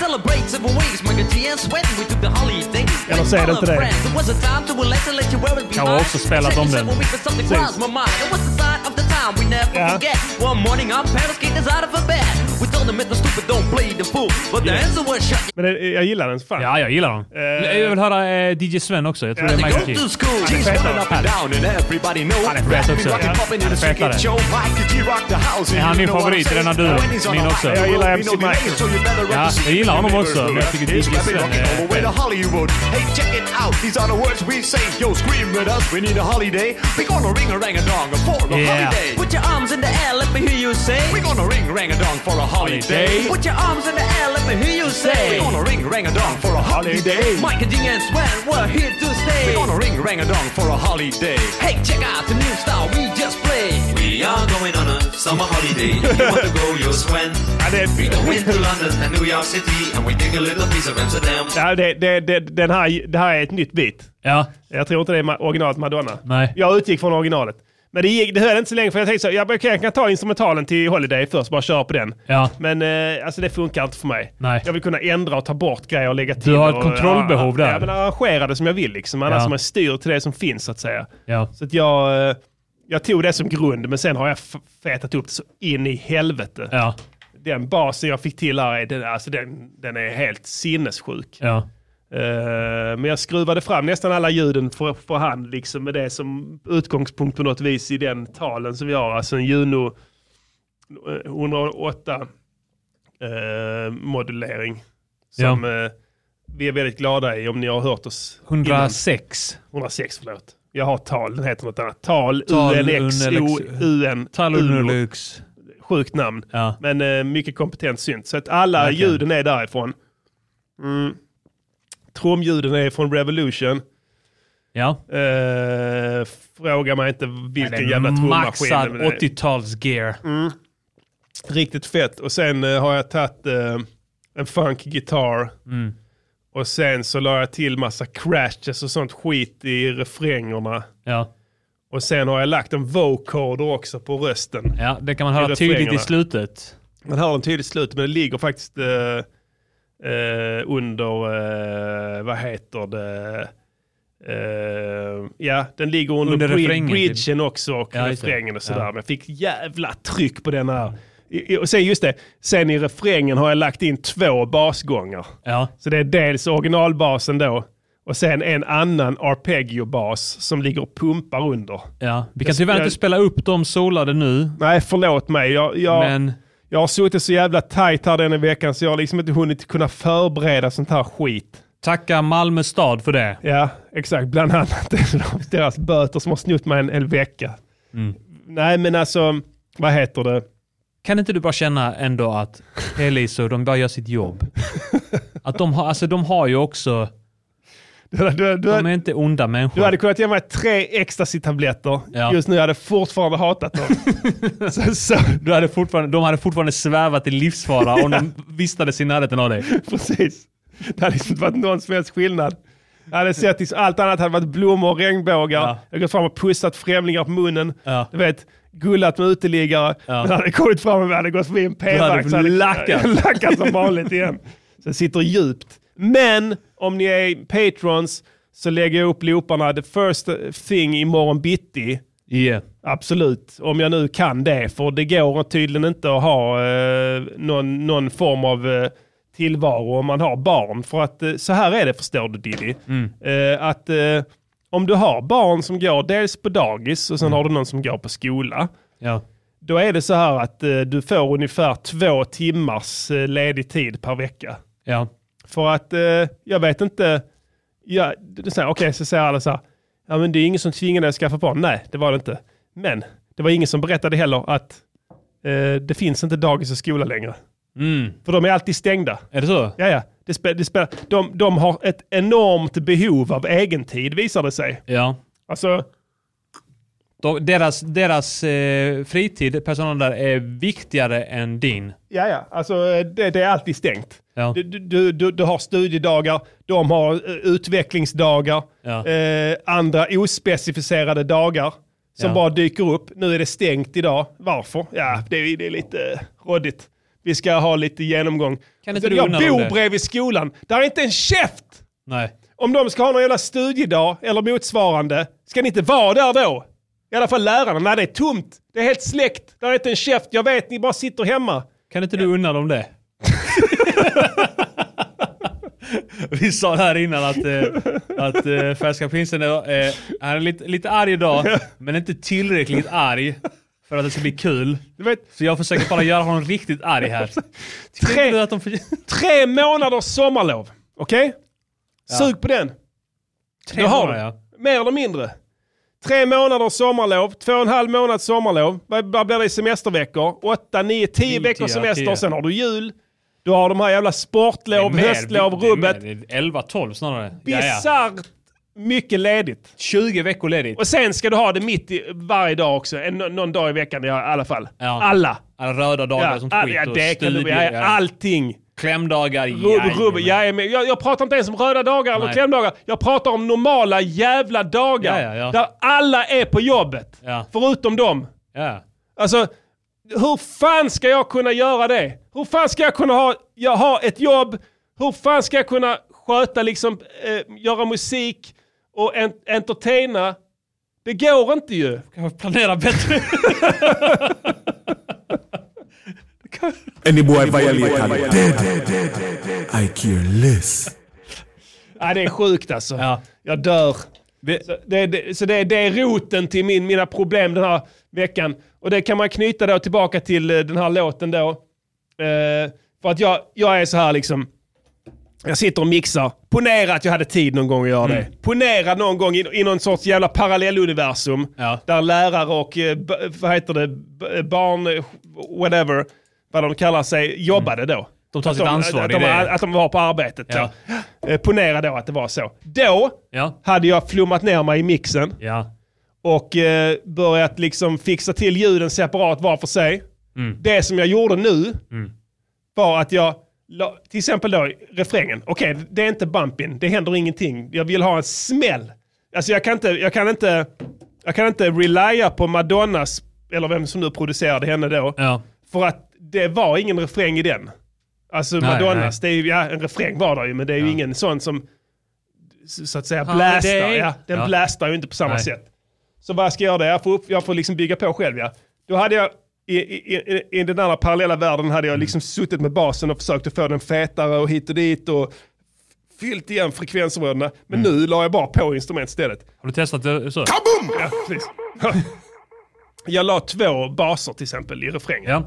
Speaker 12: Celebrate several ways, my good and sweat we took the holiday.
Speaker 1: Eller så är det inte det.
Speaker 12: It was a time to relax and let you wear it
Speaker 1: Kan vi också spela om den?
Speaker 12: When we for something
Speaker 1: Precis.
Speaker 12: crossed my mind. It was the sign of the time we never
Speaker 1: Ja.
Speaker 12: forget. One morning our parents kicked us out of a bed. We told them it was stupid, don't play the fool. But the answer was shut.
Speaker 1: Men det, jag gillar den. Fan.
Speaker 2: Ja, jag gillar
Speaker 12: Eh.
Speaker 2: den. Jag vill höra eh, DJ Sven också. Jag tror
Speaker 12: As
Speaker 2: det
Speaker 12: they
Speaker 2: är
Speaker 12: go
Speaker 2: Michael
Speaker 12: to
Speaker 2: Key.
Speaker 12: school, he's running up and
Speaker 2: Härligt.
Speaker 12: down, and everybody knows.
Speaker 2: Han är fet också.
Speaker 12: Rockin' poppin' in
Speaker 2: Han är
Speaker 12: the street,
Speaker 2: fetare.
Speaker 12: get Joe Mike, the G-Rock, the house,
Speaker 2: Är
Speaker 12: and
Speaker 2: han
Speaker 12: you
Speaker 2: min
Speaker 12: know what I'm
Speaker 2: favorit i
Speaker 12: saying.
Speaker 2: denna duo?
Speaker 12: When he's on
Speaker 2: Min
Speaker 12: the
Speaker 2: också.
Speaker 12: mic,
Speaker 2: Jag gillar
Speaker 12: we
Speaker 2: MC
Speaker 12: know the
Speaker 2: Michael.
Speaker 12: name, so you better
Speaker 2: Ja,
Speaker 12: represent
Speaker 2: jag gillar
Speaker 12: the
Speaker 2: honom också, men jag tycker
Speaker 12: universe.
Speaker 2: DJ
Speaker 12: He's
Speaker 2: Sven
Speaker 12: rapping all the way
Speaker 2: är-
Speaker 12: to Hollywood. Hey, check it out. These are the words we say. Yo, scream with us. We need a holiday. We gonna ring a rang a dong for a
Speaker 2: Yeah.
Speaker 12: holiday. Put your arms in the air. Let me hear you say. We gonna ring rang a dong for a holiday.
Speaker 2: Holiday.
Speaker 12: Put your arms in the air. Let me hear you say. We gonna ring rang a dong for a holiday. Mike and Jing and Sven, we're here to stay. We gonna ring rang a dong for a holiday. Hey, check out the new style we just played.
Speaker 13: We are going on a summer holiday. If you
Speaker 10: [laughs]
Speaker 13: want to go, you'll swim. We go into London and New York City, and we take a little piece of Amsterdam.
Speaker 1: Ja, det, det, det, den här, det här är ett nytt bit.
Speaker 2: Ja.
Speaker 1: Jag tror inte det är ma- originalet Madonna.
Speaker 2: Nej.
Speaker 1: Jag utgick från originalet. Men det, gick, det höll inte så länge för jag tänkte så, ja, men okej, jag kan ta instrumentalen till Holiday först, bara köra på den.
Speaker 2: Ja.
Speaker 1: Men eh, alltså det funkar inte för mig.
Speaker 2: Nej.
Speaker 1: Jag vill kunna ändra och ta bort grejer och lägga till.
Speaker 2: har ett
Speaker 1: och,
Speaker 2: kontrollbehov
Speaker 1: ja,
Speaker 2: där.
Speaker 1: Ja, men arrangera det som jag vill liksom. Annars
Speaker 2: Ja.
Speaker 1: ja. man styr till det som finns så att säga.
Speaker 2: Ja.
Speaker 1: Så att jag, eh, jag tog det som grund, men sen har jag f- fetat upp det så in i helvete.
Speaker 2: Ja.
Speaker 1: Den basen jag fick till här, är den, alltså den, den är helt sinnessjuk.
Speaker 2: Ja.
Speaker 1: Eh, men jag skruvade fram nästan alla ljuden för, för hand, liksom med det som utgångspunkt på något vis i den talen som vi har. Alltså en Juno eh, 108 eh, modulering. Som eh, vi är väldigt glada i om ni har hört oss. innan.
Speaker 2: 106.
Speaker 1: 106, förlåt. Jag har tal, den heter något annat. Tal,
Speaker 2: Tal,
Speaker 1: UNX,
Speaker 2: UNLX.
Speaker 1: O, UN,
Speaker 2: Tal
Speaker 1: UNO.
Speaker 2: Unolux.
Speaker 1: Sjukt namn. Men eh, mycket kompetent synt. Så att alla
Speaker 2: Verkligen.
Speaker 1: ljuden är därifrån. Mm. Trumljuden är från Revolution.
Speaker 2: Ja.
Speaker 1: Eh, fråga mig inte
Speaker 2: Det
Speaker 1: vilken
Speaker 2: är
Speaker 1: jävla trummaskin.
Speaker 2: Maxad
Speaker 1: men det är
Speaker 2: 80-tals-gear.
Speaker 1: Mm. Riktigt fett. Och sen eh, har jag tagit eh, en funk gitarr.
Speaker 2: Mm.
Speaker 1: Och sen så la jag till massa crashes och sånt skit i refrängerna.
Speaker 2: Ja.
Speaker 1: Och sen har jag lagt en vocoder också på rösten.
Speaker 2: Ja, det kan man höra tydligt i slutet.
Speaker 1: Man hör den tydligt i slutet, men det ligger faktiskt eh, eh, under, eh, vad heter det? Eh, ja, den ligger under,
Speaker 2: Under
Speaker 1: under
Speaker 2: refrängen, typ.
Speaker 1: bridgen också och
Speaker 2: Ja, just det.
Speaker 1: refrängen och sådär.
Speaker 2: Ja.
Speaker 1: Men jag fick jävla tryck på den här. I- i- Och sen just det, sen i refrängen har jag lagt in två basgångar. Så det är dels originalbasen då och sen en annan arpeggiobas som ligger och pumpar under.
Speaker 2: Ja, vi kan
Speaker 1: Jag-
Speaker 2: tyvärr
Speaker 1: jag-
Speaker 2: inte spela upp de solade nu.
Speaker 1: Nej, förlåt mig. Jag, jag,
Speaker 2: Men-
Speaker 1: jag har suttit så jävla tajt här denna veckan så jag har liksom inte hunnit kunna förbereda sånt här skit.
Speaker 2: Tacka Malmö stad för det.
Speaker 1: Ja, exakt. Bland annat [laughs] deras böter som har snott mig en hel vecka. Nej, men alltså, vad heter det?
Speaker 2: Kan inte du bara känna ändå att Elis och de bara gör sitt [laughs] jobb? Att de har, alltså de har ju också... de är inte onda människor.
Speaker 1: Du hade kunnat ge mig tre ecstasy-tabletter.
Speaker 2: Ja.
Speaker 1: Just nu hade jag fortfarande
Speaker 2: [laughs]
Speaker 1: hatat dem. så, så.
Speaker 2: Du hade fortfarande, de hade fortfarande svävat i livsfara om [laughs] de vistades i närheten av dig.
Speaker 1: [laughs] Precis. Det hade liksom inte varit någon som helst skillnad. Jag hade sett liksom, allt annat hade varit blommor och regnbågar. Jag hade gått fram och pussat främlingar på munnen. Du vet, gullat med uteliggare. Men hade jag kommit fram och vi hade gått förbi en p-vakt så hade jag-
Speaker 2: lackat.
Speaker 1: [laughs] lackat som vanligt igen. Så jag sitter djupt. Men om ni är patrons så lägger jag upp looparna the first thing imorgon bitti.
Speaker 2: Yeah.
Speaker 1: Absolut, om jag nu kan det. För det går tydligen inte att ha eh, någon, någon form av eh, tillvaro om man har barn. För att eh, så här är det förstår du Diddy. Eh, att eh, om du har barn som går dels på dagis och sen har du någon som går på skola.
Speaker 2: Ja.
Speaker 1: Då är det så här att eh, du får ungefär två timmars eh, ledig tid per vecka.
Speaker 2: Ja.
Speaker 1: För att eh, jag vet inte, ja, det- det säger, okej så säger alla så här, ja men det är ingen som tvingar dig att skaffa barn. Nej, det var det inte. Men det var ingen som berättade heller att eh, det finns inte dagis och skola längre. För de är alltid stängda.
Speaker 2: Är det så?
Speaker 1: Ja, ja. Det spe, det spe, de, de har ett enormt behov av egentid visar det sig.
Speaker 2: Ja.
Speaker 1: Alltså,
Speaker 2: De, deras deras eh, fritid, personalen där, är viktigare än din.
Speaker 1: Ja, ja. Alltså, eh, det, det är alltid stängt. Du, du- du, du, du har studiedagar, de har eh, utvecklingsdagar,
Speaker 2: Ja.
Speaker 1: eh, andra ospecificerade dagar som
Speaker 2: Ja.
Speaker 1: bara dyker upp. Nu är det stängt idag. Varför? Ja, det, är- det är lite eh, råddigt. Vi ska ha lite genomgång.
Speaker 2: Kan inte du
Speaker 1: jag
Speaker 2: unna dem
Speaker 1: bor
Speaker 2: det?
Speaker 1: bredvid skolan. Där är inte en käft!
Speaker 2: Nej.
Speaker 1: Om de ska ha någon jävla studiedag eller motsvarande, ska ni inte vara där då? I alla fall lärarna. Nej, det är tomt. Det är helt släckt. Där är inte en käft. Jag vet, ni bara sitter hemma.
Speaker 2: Kan inte du unna dem
Speaker 1: [laughs]
Speaker 2: det? Vi sa här innan att, eh, att eh, Färska Prinsen är, eh, han är lite, lite arg idag, men inte tillräckligt arg för att det ska bli kul. Så jag försöker bara göra honom riktigt arg här.
Speaker 1: Tre, tre månaders sommarlov. Okej? Sug på den.
Speaker 2: Tre
Speaker 1: Då har
Speaker 2: månader,
Speaker 1: du. Mer eller mindre. Tre månaders sommarlov, två och en halv månads sommarlov. Vad vad blir det i semesterveckor? Åtta, nio, tio veckors
Speaker 2: ja,
Speaker 1: semester.
Speaker 2: tio.
Speaker 1: Sen har du jul. Du har de här jävla sportlov, höstlov, rubbet.
Speaker 2: 11-12 snarare.
Speaker 1: Bisarrt mycket ledigt.
Speaker 2: 20 veckor ledigt.
Speaker 1: Och sen ska du ha det mitt i varje dag också. En, någon dag i veckan i alla fall.
Speaker 2: Ja.
Speaker 1: Alla.
Speaker 2: Alla röda dagar
Speaker 1: Ja,
Speaker 2: som
Speaker 1: all-
Speaker 2: skit
Speaker 1: ja,
Speaker 2: och
Speaker 1: det kan du-
Speaker 2: studier,
Speaker 1: ja, allting.
Speaker 2: Klämdagar,
Speaker 1: Rubb,
Speaker 2: jajamän.
Speaker 1: rubb, jajamän. jag, jag pratar inte ens om röda dagar eller
Speaker 2: Nej.
Speaker 1: klämdagar. Jag pratar om normala jävla dagar.
Speaker 2: Ja, ja, ja.
Speaker 1: Där alla är på jobbet.
Speaker 2: Ja.
Speaker 1: Förutom dem.
Speaker 2: Ja.
Speaker 1: Alltså, hur fan ska jag kunna göra det? Hur fan ska jag kunna ha, jag ha ett jobb? Hur fan ska jag kunna sköta, liksom, eh, göra musik och en, entertaina? Det går inte ju.
Speaker 2: Kan jag planera bättre?
Speaker 14: Any boy violate and dead. I care less.
Speaker 1: Ja, det är sjukt alltså. Jag dör. så, det, det, så det, det är roten till min, mina problem den här veckan. Och det kan man knyta då tillbaka till eh, den här låten då. Eh, för att jag, jag är så här liksom. Jag sitter och mixar. Ponera att jag hade tid någon gång att göra
Speaker 2: Mm.
Speaker 1: det. Ponera någon gång i, i någon sorts jävla parallelluniversum. Där lärare och, eh, b- vad heter det, b- barn, eh, whatever, vad de kallar sig, jobbade då.
Speaker 2: Mm. De tar
Speaker 1: Att
Speaker 2: sitt ansvar,
Speaker 1: Att
Speaker 2: det är
Speaker 1: de,
Speaker 2: det.
Speaker 1: att de var på arbetet.
Speaker 2: Ja.
Speaker 1: Så. Eh, Ponera då att det var så. Då hade jag flummat ner mig i mixen
Speaker 2: Ja.
Speaker 1: och eh, börjat liksom fixa till ljuden separat var för sig. Det som jag gjorde nu var att jag, la, till exempel då refrängen, okej det är inte bumpin, det händer ingenting, jag vill ha en smäll. Alltså jag kan inte, jag kan inte, jag kan inte relya på Madonnas, eller vem som nu producerade henne då. För att det var ingen refräng i den. Alltså
Speaker 2: Nej,
Speaker 1: Madonnas, det är ju, ja en refräng var där ju, men det är ju ingen sån som s- så att säga blastar.
Speaker 2: Holiday.
Speaker 1: Ja, den
Speaker 2: Ja.
Speaker 1: blastar ju inte på samma
Speaker 2: Nej.
Speaker 1: sätt. Så vad ska jag göra? Jag får, upp, jag får liksom bygga på själv ja. Då hade jag i, i, i, I den andra parallella världen hade
Speaker 2: Mm.
Speaker 1: jag liksom suttit med basen och försökt att få den fetare och hit och dit och fyllt igen frekvensområdena. Men
Speaker 2: Mm.
Speaker 1: nu la jag bara på instrument istället.
Speaker 2: Har du testat det så?
Speaker 1: Kaboom! Ja,
Speaker 2: [laughs]
Speaker 1: precis. jag la två baser till exempel i refrängen.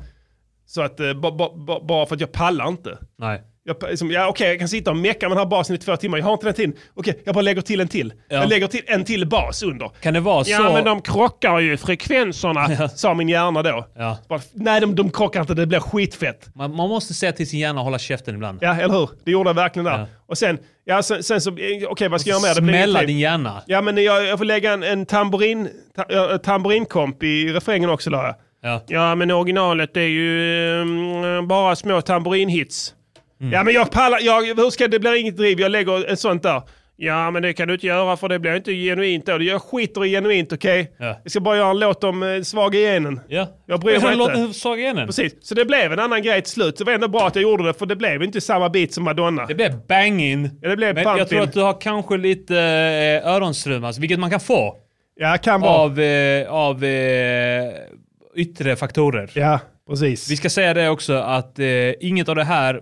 Speaker 1: Så att eh, ba, ba, ba, bara för att jag pallar inte.
Speaker 2: Nej.
Speaker 1: Jag, pa- liksom, ja, okej, jag kan sitta och mecka med den här basen i två timmar. Jag har inte den tiden. Okej, jag bara lägger till en till.
Speaker 2: Ja.
Speaker 1: Jag lägger till en till bas under.
Speaker 2: Kan det vara
Speaker 1: ja,
Speaker 2: så-
Speaker 1: men de krockar
Speaker 2: [laughs]
Speaker 1: ju frekvenserna, sa min hjärna då.
Speaker 2: Ja.
Speaker 1: Bara, Nej, de, de krockar inte. Det blir skitfett.
Speaker 2: Man, man måste säga till sin hjärna att hålla käften ibland.
Speaker 1: Ja, eller hur? Det gjorde jag verkligen där. Och sen, ja, sen, sen så, eh, okej vad ska jag göra med det? blir
Speaker 2: Smälla
Speaker 1: inget
Speaker 2: din
Speaker 1: liv.
Speaker 2: hjärna.
Speaker 1: Ja, men jag, jag får lägga en, en tamburin, ta, ja, en tamburinkomp i refrängen också la jag. Ja. men originalet är ju mm, bara små tamburinhits.
Speaker 2: Mm.
Speaker 1: Ja, men jag pallar, jag, hur ska det bli inget driv? Jag lägger ett sånt där. Ja, men det kan du inte göra för det blir inte genuint då. Jag skiter i genuint, okej?
Speaker 2: Ja.
Speaker 1: Jag ska bara göra en låt om eh, svaga genen.
Speaker 2: Ja.
Speaker 1: Jag bryr mig
Speaker 2: Låt
Speaker 1: inte.
Speaker 2: Saga igen den.
Speaker 1: Precis, så det blev en annan grej till slut. Det var ändå bra att jag gjorde det, för det blev inte samma bit som Madonna. Det
Speaker 2: blev bang-in.
Speaker 1: Ja, det blev
Speaker 2: Men jag tror
Speaker 1: pump-in.
Speaker 2: att du har kanske lite eh, öronstrumas, vilket man kan få.
Speaker 1: Ja, kan vara.
Speaker 2: Av, eh, av eh, yttre faktorer.
Speaker 1: Ja, precis.
Speaker 2: Vi ska säga det också att eh, inget av det här,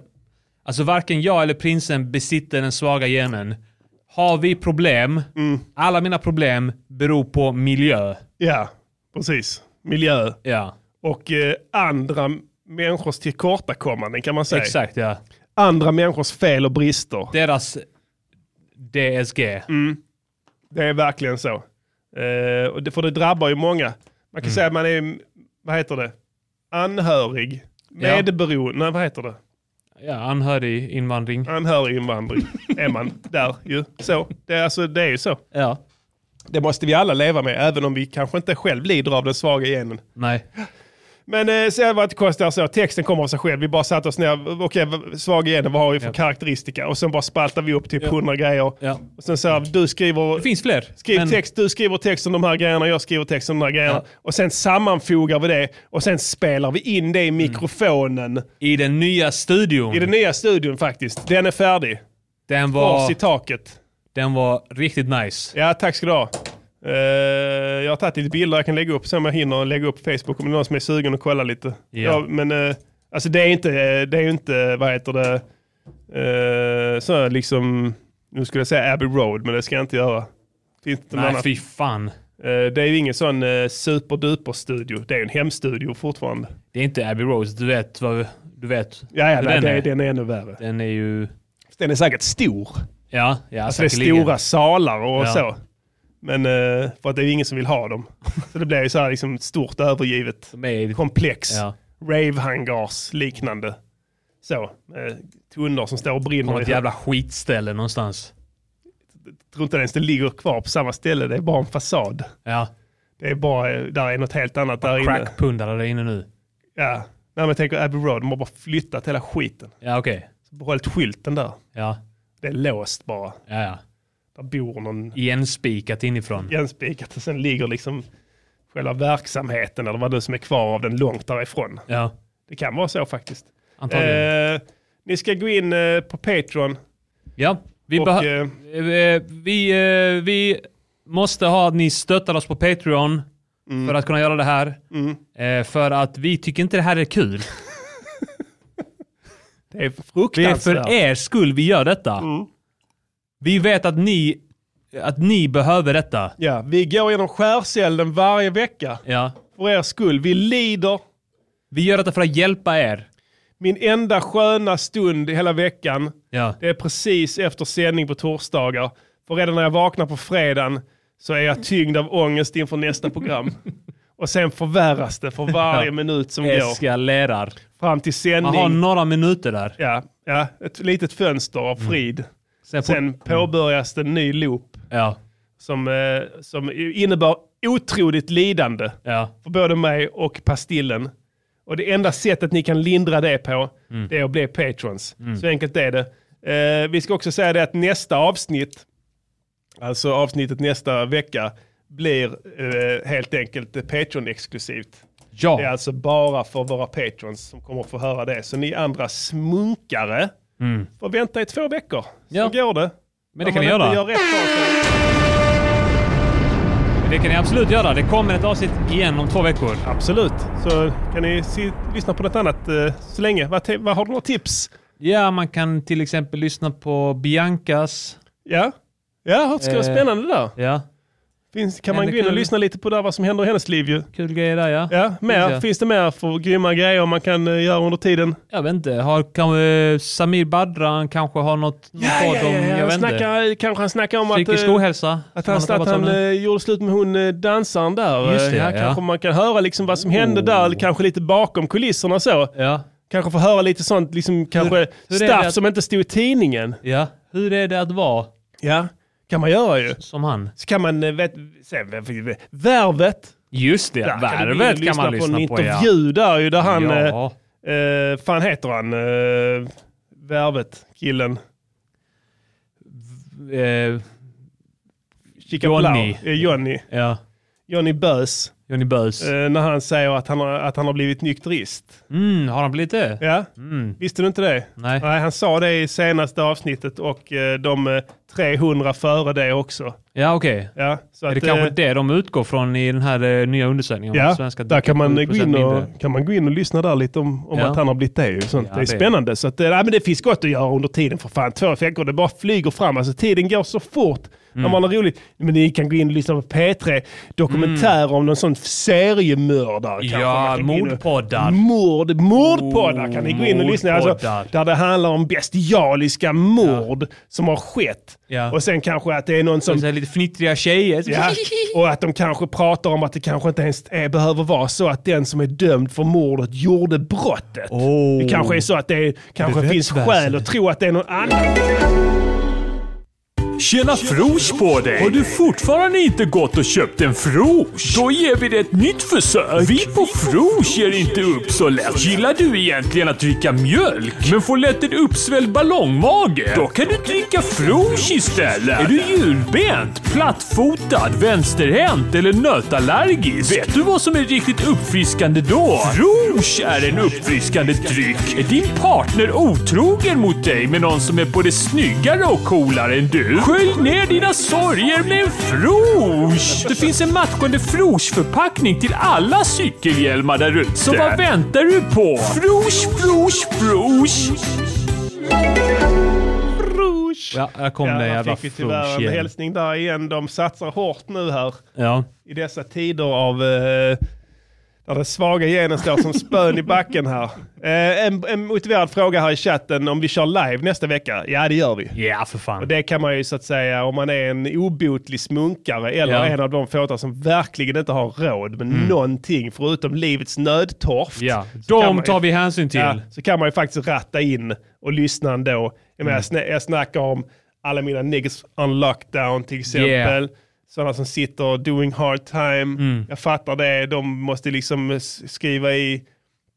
Speaker 2: alltså varken jag eller prinsen besitter den svaga genen. Har vi problem,
Speaker 1: Mm.
Speaker 2: alla mina problem beror på miljö.
Speaker 1: Ja, precis. Miljö.
Speaker 2: Ja.
Speaker 1: Och eh, andra människors tillkortakommanden kan man säga.
Speaker 2: Exakt ja.
Speaker 1: Andra människors fel och brister.
Speaker 2: Deras DSG.
Speaker 1: Mm. Det är verkligen så. Eh, och det, för det drabbar ju många. Man
Speaker 2: Mm.
Speaker 1: kan säga att man är, vad heter det, anhörig, medberoende, nej, vad heter det?
Speaker 2: Ja, anhörig invandring.
Speaker 1: Anhörig invandring är man där ju. Så, det, är alltså, det är ju så.
Speaker 2: Ja.
Speaker 1: Det måste vi alla leva med, även om vi kanske inte själv lider av den svaga genen.
Speaker 2: Nej.
Speaker 1: Men eh, sen var det konstigt så, texten kommer av sig själv. Vi bara satte oss ner, okej, v- svag igen, vad har vi för karaktäristika? Och sen bara spaltar vi upp typ
Speaker 2: Ja.
Speaker 1: hundra grejer. Och sen så här, du skriver... Det
Speaker 2: finns fler.
Speaker 1: Skriv
Speaker 2: men-
Speaker 1: text, du skriver text om de här grejerna, jag skriver text om de här grejerna. Och sen sammanfogar vi det och sen spelar vi in det i
Speaker 2: Mm.
Speaker 1: mikrofonen.
Speaker 2: I den nya studion.
Speaker 1: I den nya studion faktiskt. Den är färdig.
Speaker 2: Den var...
Speaker 1: Kors i taket.
Speaker 2: Den var riktigt nice.
Speaker 1: Ja, tack ska du ha. Eh, jag har tagit lite bilder jag kan lägga upp, se om jag hinner lägga upp på Facebook om det är någon som är sugen och kolla lite.
Speaker 2: Ja.
Speaker 1: Ja, men eh, alltså det är inte, det är ju inte, vad heter det, eh, så här liksom, nu skulle jag säga Abbey Road, men det ska jag inte göra. Finns det någon
Speaker 2: Nej,
Speaker 1: annan?
Speaker 2: fy fan.
Speaker 1: Eh, det är ju ingen sån uh, superduper-studio, det är ju en hemstudio fortfarande.
Speaker 2: Det är inte Abbey Rose, du vet vad... Du vet.
Speaker 1: Ja, ja
Speaker 2: hur
Speaker 1: den, är, den är ännu värre.
Speaker 2: Den är ju...
Speaker 1: Den är säkert stor.
Speaker 2: Ja, ja
Speaker 1: alltså det är
Speaker 2: säkerligen.
Speaker 1: stora salar och
Speaker 2: Ja.
Speaker 1: så. Men eh, för att det är ju ingen som vill ha dem. [laughs] Så det blir ju så här liksom ett stort övergivet komplex.
Speaker 2: Ja.
Speaker 1: Rave-hangars liknande. Så. Eh, tunnor som står och brinner.
Speaker 2: På ett jävla skitställe någonstans.
Speaker 1: Jag tror inte ens det ligger kvar på samma ställe. Det är bara en fasad.
Speaker 2: Ja.
Speaker 1: Det är bara, eh, där är något helt annat där inne.
Speaker 2: Crackpundare där inne nu.
Speaker 1: Ja. Nej, men jag tänker Abbey Road, de har bara flyttat hela skiten.
Speaker 2: Ja, okej.
Speaker 1: Behållit skylten där.
Speaker 2: Ja.
Speaker 1: Det är låst bara.
Speaker 2: Ja, ja.
Speaker 1: Där bor någon
Speaker 2: Igenspikat inifrån.
Speaker 1: igenspikat och sen ligger liksom själva verksamheten eller vad det är som är kvar av den långt därifrån.
Speaker 2: Ja.
Speaker 1: Det kan vara så faktiskt.
Speaker 2: Antagligen.
Speaker 1: Eh, ni ska gå in eh, på Patreon.
Speaker 2: Ja, vi,
Speaker 1: Och,
Speaker 2: behö-
Speaker 1: eh,
Speaker 2: eh, vi, eh, vi måste ha att ni stöttar oss på Patreon för att kunna göra det här. Eh, för att vi tycker inte det här är kul.
Speaker 1: det är
Speaker 2: Det är
Speaker 1: fruktansvärt.
Speaker 2: för er skull vi gör detta. Vi vet att ni, att ni behöver detta.
Speaker 1: Ja, vi går genom skärselden varje vecka.
Speaker 2: Ja.
Speaker 1: För er skull. Vi lider.
Speaker 2: Vi gör detta för att hjälpa er.
Speaker 1: Min enda sköna stund i hela veckan,
Speaker 2: Ja.
Speaker 1: det är precis efter sändning på torsdagar. För redan när jag vaknar på fredagen så är jag tyngd av ångest inför nästa program. Och sen förvärras det för varje
Speaker 2: Ja.
Speaker 1: minut som går.
Speaker 2: Eskalerar.
Speaker 1: Fram till sändning.
Speaker 2: Man har några minuter där.
Speaker 1: Ja, ja, ett litet fönster av frid.
Speaker 2: Sen
Speaker 1: Sen,
Speaker 2: på-
Speaker 1: påbörjas det en ny loop.
Speaker 2: Ja.
Speaker 1: Som, eh, som innebär otroligt lidande för både mig och Pastillen. Och det enda sättet ni kan lindra det på, det är att bli patrons.
Speaker 2: Mm.
Speaker 1: Så enkelt är det. Eh, vi ska också säga det att nästa avsnitt, alltså avsnittet nästa vecka, blir eh, helt enkelt eh, Patreon-exklusivt.
Speaker 2: Ja.
Speaker 1: Det är alltså bara för våra patrons som kommer att få höra det. Så ni andra smunkare
Speaker 2: Mm.
Speaker 1: får vänta i två veckor. Så går det.
Speaker 2: Men det
Speaker 1: Om
Speaker 2: kan ni
Speaker 1: man
Speaker 2: göra.
Speaker 1: inte Gör rätt för sig.
Speaker 2: Det kan ni absolut göra. Det kommer ett avsnitt igen om två veckor.
Speaker 1: Absolut. Så kan ni si- lyssna på något annat eh, så länge. Vad, te- vad har du några tips?
Speaker 2: Ja, man kan till exempel lyssna på Biancas.
Speaker 1: Ja, ja det ska vara spännande där.
Speaker 2: Ja.
Speaker 1: Eh, Finns, kan
Speaker 2: Ja,
Speaker 1: man
Speaker 2: det
Speaker 1: gå in och
Speaker 2: kul.
Speaker 1: lyssna lite på där, vad som händer i hennes liv ju?
Speaker 2: Kul grejer där ja.
Speaker 1: ja mer.
Speaker 2: Finns det.
Speaker 1: Finns det mer för grymma grejer man kan eh, göra under tiden?
Speaker 2: Jag vet inte. Har, kan, eh, Samir Badran kanske har något ja, podd om... jag
Speaker 1: han
Speaker 2: vet inte.
Speaker 1: snackar, kanske han snackar om
Speaker 2: Psykisk
Speaker 1: att, eh,
Speaker 2: ohälsa.
Speaker 1: att
Speaker 2: som
Speaker 1: han,
Speaker 2: har
Speaker 1: att
Speaker 2: drabbats av
Speaker 1: han
Speaker 2: nu.
Speaker 1: eh, gjorde slut med hon eh, dansaren där.
Speaker 2: Just det,
Speaker 1: Eh, här
Speaker 2: ja.
Speaker 1: Kanske man kan höra liksom vad som hände där, kanske lite bakom kulisserna så. Kanske få höra lite sånt, liksom, kanske
Speaker 2: hur är det
Speaker 1: staff
Speaker 2: att-
Speaker 1: som inte stod i tidningen.
Speaker 2: Ja. Hur är det att vara?
Speaker 1: Ja, kan man göra ju.
Speaker 2: Som han.
Speaker 1: Så kan man, eh, vet, se, Värvet.
Speaker 2: Just det,
Speaker 1: Där
Speaker 2: Värvet kan, man lyssna på.
Speaker 1: en
Speaker 2: ja.
Speaker 1: intervju där ju, där han,
Speaker 2: Ja.
Speaker 1: eh, eh, fan heter han, eh, Värvet, killen.
Speaker 2: Eh,
Speaker 1: Chica
Speaker 2: Johnny.
Speaker 1: Blau. Eh, Johnny.
Speaker 2: Ja.
Speaker 1: Johnny Bös.
Speaker 2: Johnny Bös.
Speaker 1: Eh, när han säger att han, har, att han har blivit nykterist.
Speaker 2: Mm, har han blivit det?
Speaker 1: Ja.
Speaker 2: Mm.
Speaker 1: Visste du inte det?
Speaker 2: Nej.
Speaker 1: han sa det i senaste avsnittet och eh, de eh, 300 före det också.
Speaker 2: Ja, okej.
Speaker 1: Ja, så
Speaker 2: är det
Speaker 1: att,
Speaker 2: kanske
Speaker 1: eh,
Speaker 2: det de utgår från i den här eh, nya undersökningen? om
Speaker 1: Ja,
Speaker 2: svenska
Speaker 1: där kan man, eh, gå in
Speaker 2: 7% mindre?
Speaker 1: och, kan man gå in och lyssna där lite om, om
Speaker 2: Ja.
Speaker 1: att han har blivit det. ju. Sånt.
Speaker 2: Ja,
Speaker 1: det är
Speaker 2: det-
Speaker 1: spännande. Så att, eh, nej, men det finns gott att göra under tiden för fan. Två veckor, det bara flyger fram. Alltså, tiden går så fort när
Speaker 2: Mm.
Speaker 1: man har roligt. Men ni kan gå in och lyssna på P3 dokumentär om någon sån seriemördare. kanske.
Speaker 2: Mm.
Speaker 1: Man
Speaker 2: Ja,
Speaker 1: kan gå in och-
Speaker 2: mordpoddar. Oh,
Speaker 1: Mord, mordpoddar kan ni gå in och lyssna. Alltså,
Speaker 2: Mordpoddar.
Speaker 1: där det handlar om bestialiska mord som har skett.
Speaker 2: Ja.
Speaker 1: Och sen kanske att det är någon som...
Speaker 2: Och så här lite fnittriga tjejer.
Speaker 1: Ja,
Speaker 2: [laughs]
Speaker 1: och att de kanske pratar om att det kanske inte ens är, behöver vara så att den som är dömd för mordet gjorde brottet. Det kanske är så att det är, kanske
Speaker 2: Oh. Det är
Speaker 1: finns skäl
Speaker 2: rättsväsendet.
Speaker 1: att tro att det är någon annan.
Speaker 15: Tjena Frosch på dig! Har du fortfarande inte gått och köpt en Frosch? Då ger vi det ett nytt försök. Vi på Frosch ger inte upp så lätt. Gillar du egentligen att dricka mjölk? Men får lätt en uppsvälld ballongmage? Då kan du dricka Frosch istället. Är du hjulbent, plattfotad, vänsterhänt eller nötallergisk? Vet du vad som är riktigt uppfriskande då? Frosch är en uppfriskande dryck. Är din partner otrogen mot dig med någon som är både snyggare och coolare än du? Skölj ner dina sorger med en Frosch! Det finns en matchande Frosch-förpackning till alla cykelhjälmar där ute. Så vad väntar du på? Frosch, Frosch, Frosch!
Speaker 2: Ja, här kom
Speaker 1: Ja,
Speaker 2: den
Speaker 1: här
Speaker 2: jävla
Speaker 1: fick vi tyvärr
Speaker 2: Frosch
Speaker 1: en
Speaker 2: igen.
Speaker 1: hälsning där igen. De satsar hårt nu här
Speaker 2: Ja.
Speaker 1: i dessa tider av eh, där den svaga genen står som spön i backen här. Eh, en, en motiverad fråga här i chatten om vi kör live nästa vecka. Ja, det gör vi.
Speaker 2: Ja, för fan.
Speaker 1: Och det kan man ju så att säga om man är en obotlig smunkare eller
Speaker 2: Ja. Mm.
Speaker 1: en av de fåtal som verkligen inte har råd med någonting förutom livets nödtorft.
Speaker 2: Ja,
Speaker 1: Så kan
Speaker 2: de
Speaker 1: man ju-
Speaker 2: tar vi hänsyn till.
Speaker 1: Ja, så kan man ju faktiskt ratta in och lyssna ändå. Jag,
Speaker 2: Mm.
Speaker 1: menar, jag, sn- jag snackar om alla mina niggas on lockdown till exempel.
Speaker 2: Yeah.
Speaker 1: Sådana som sitter doing hard time.
Speaker 2: Mm.
Speaker 1: Jag fattar det. De måste liksom s- skriva i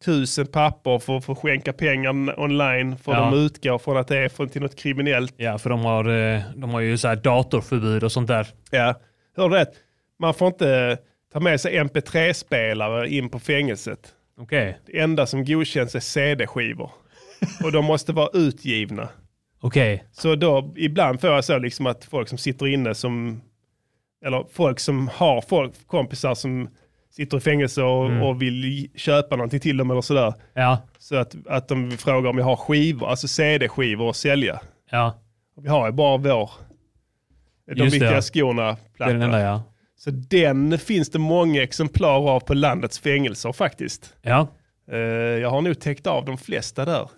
Speaker 1: tusen papper för att få skänka pengar n- online. För
Speaker 2: Ja.
Speaker 1: de utgår från att det är från till något kriminellt.
Speaker 2: Ja, för de har, eh, de har ju så här datorförbud och sånt där.
Speaker 1: Ja, hör du rätt. Man får inte ta med sig mp3-spelare in på fängelset.
Speaker 2: Okej.
Speaker 1: Det enda som godkänns är CD-skivor. Och de måste vara utgivna.
Speaker 2: Okej.
Speaker 1: Så då, ibland får jag så liksom att folk som sitter inne som, eller folk som har folk, kompisar som sitter i fängelse och,
Speaker 2: Mm.
Speaker 1: och vill i- köpa någonting till dem eller sådär.
Speaker 2: Ja.
Speaker 1: Så att, att de frågar om jag har skivor, alltså CD-skivor att sälja.
Speaker 2: Ja.
Speaker 1: Och vi har ju bara vår, de
Speaker 2: Just det,
Speaker 1: viktiga
Speaker 2: ja.
Speaker 1: skorna,
Speaker 2: Det är den enda ja.
Speaker 1: Så den finns det många exemplar av på landets fängelser faktiskt.
Speaker 2: Ja.
Speaker 1: Eh, jag har nog täckt av de flesta där.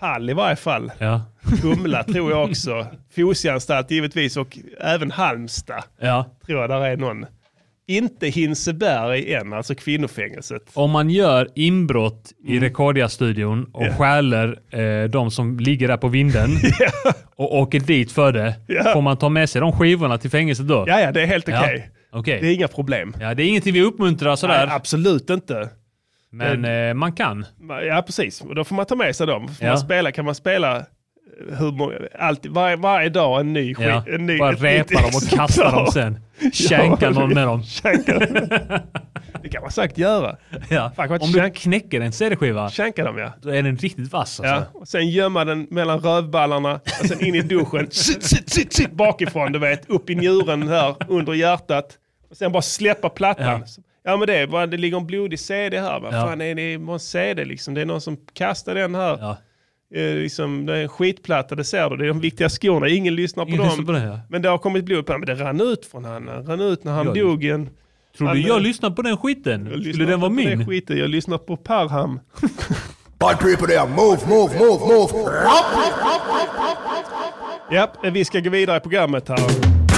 Speaker 1: Hall i varje fall.
Speaker 2: Ja.
Speaker 1: Kumla tror jag också. Fosieanstalt givetvis och även Halmstad
Speaker 2: Ja.
Speaker 1: tror jag där är någon. Inte Hinseberg än, alltså kvinnofängelset.
Speaker 2: Om man gör inbrott i Rekordia-studion och
Speaker 1: Mm. Ja.
Speaker 2: stjäler eh, de som ligger där på vinden
Speaker 1: [laughs]
Speaker 2: och åker dit för det,
Speaker 1: Ja.
Speaker 2: får man ta med sig de skivorna till fängelset då?
Speaker 1: Ja, ja, det är helt okej.
Speaker 2: Okej.
Speaker 1: Det är inga problem.
Speaker 2: Ja, det är ingenting vi uppmuntrar sådär,
Speaker 1: Nej, absolut inte.
Speaker 2: men eh, man kan.
Speaker 1: Ja, precis. Och då får man ta med sig dem. Får
Speaker 2: Ja.
Speaker 1: man spela, kan man spela hur många, alltid, varje, varje dag en ny skit.
Speaker 2: Ja.
Speaker 1: En ny,
Speaker 2: Bara
Speaker 1: ett
Speaker 2: repa
Speaker 1: nytt
Speaker 2: dem och kasta
Speaker 1: exemplar.
Speaker 2: dem
Speaker 1: [laughs]
Speaker 2: sen. Shanka någon med dem.
Speaker 1: shanka dem. Det kan man
Speaker 2: [laughs]
Speaker 1: säkert göra.
Speaker 2: Ja. Om du knäcker en CD-skiva.
Speaker 1: Shanka dem ja.
Speaker 2: Då är den riktigt vass
Speaker 1: Ja,
Speaker 2: alltså.
Speaker 1: och sen gömma den mellan rövballarna och sen in i duschen. [laughs] Sitt, sitt, sitt, sitt, bakifrån, du vet. Upp i njuren här, under hjärtat. Och sen bara släppa plattan. Ja, men det, är bara, det ligger en blodig CD här. Vad
Speaker 2: Ja.
Speaker 1: fan är det med en CD liksom? Det är någon som kastar den här. Eh, liksom, det är en skitplatta, det ser du. Det är de viktiga skorna. Ingen lyssnar på
Speaker 2: Ingen
Speaker 1: dem.
Speaker 2: lyssnar på det, ja.
Speaker 1: Men det har kommit blod på den. Men det rann ut från han. Det rann ut när han
Speaker 2: Ja, det-
Speaker 1: dog. i En,
Speaker 2: Tror du
Speaker 1: han-
Speaker 2: jag lyssnar på den skiten? Skulle den vara
Speaker 1: på det
Speaker 2: min?
Speaker 1: skiten. Jag lyssnar på Parham.
Speaker 14: Bad people there, move, move, move, move.
Speaker 1: Japp, vi ska gå vidare i programmet här.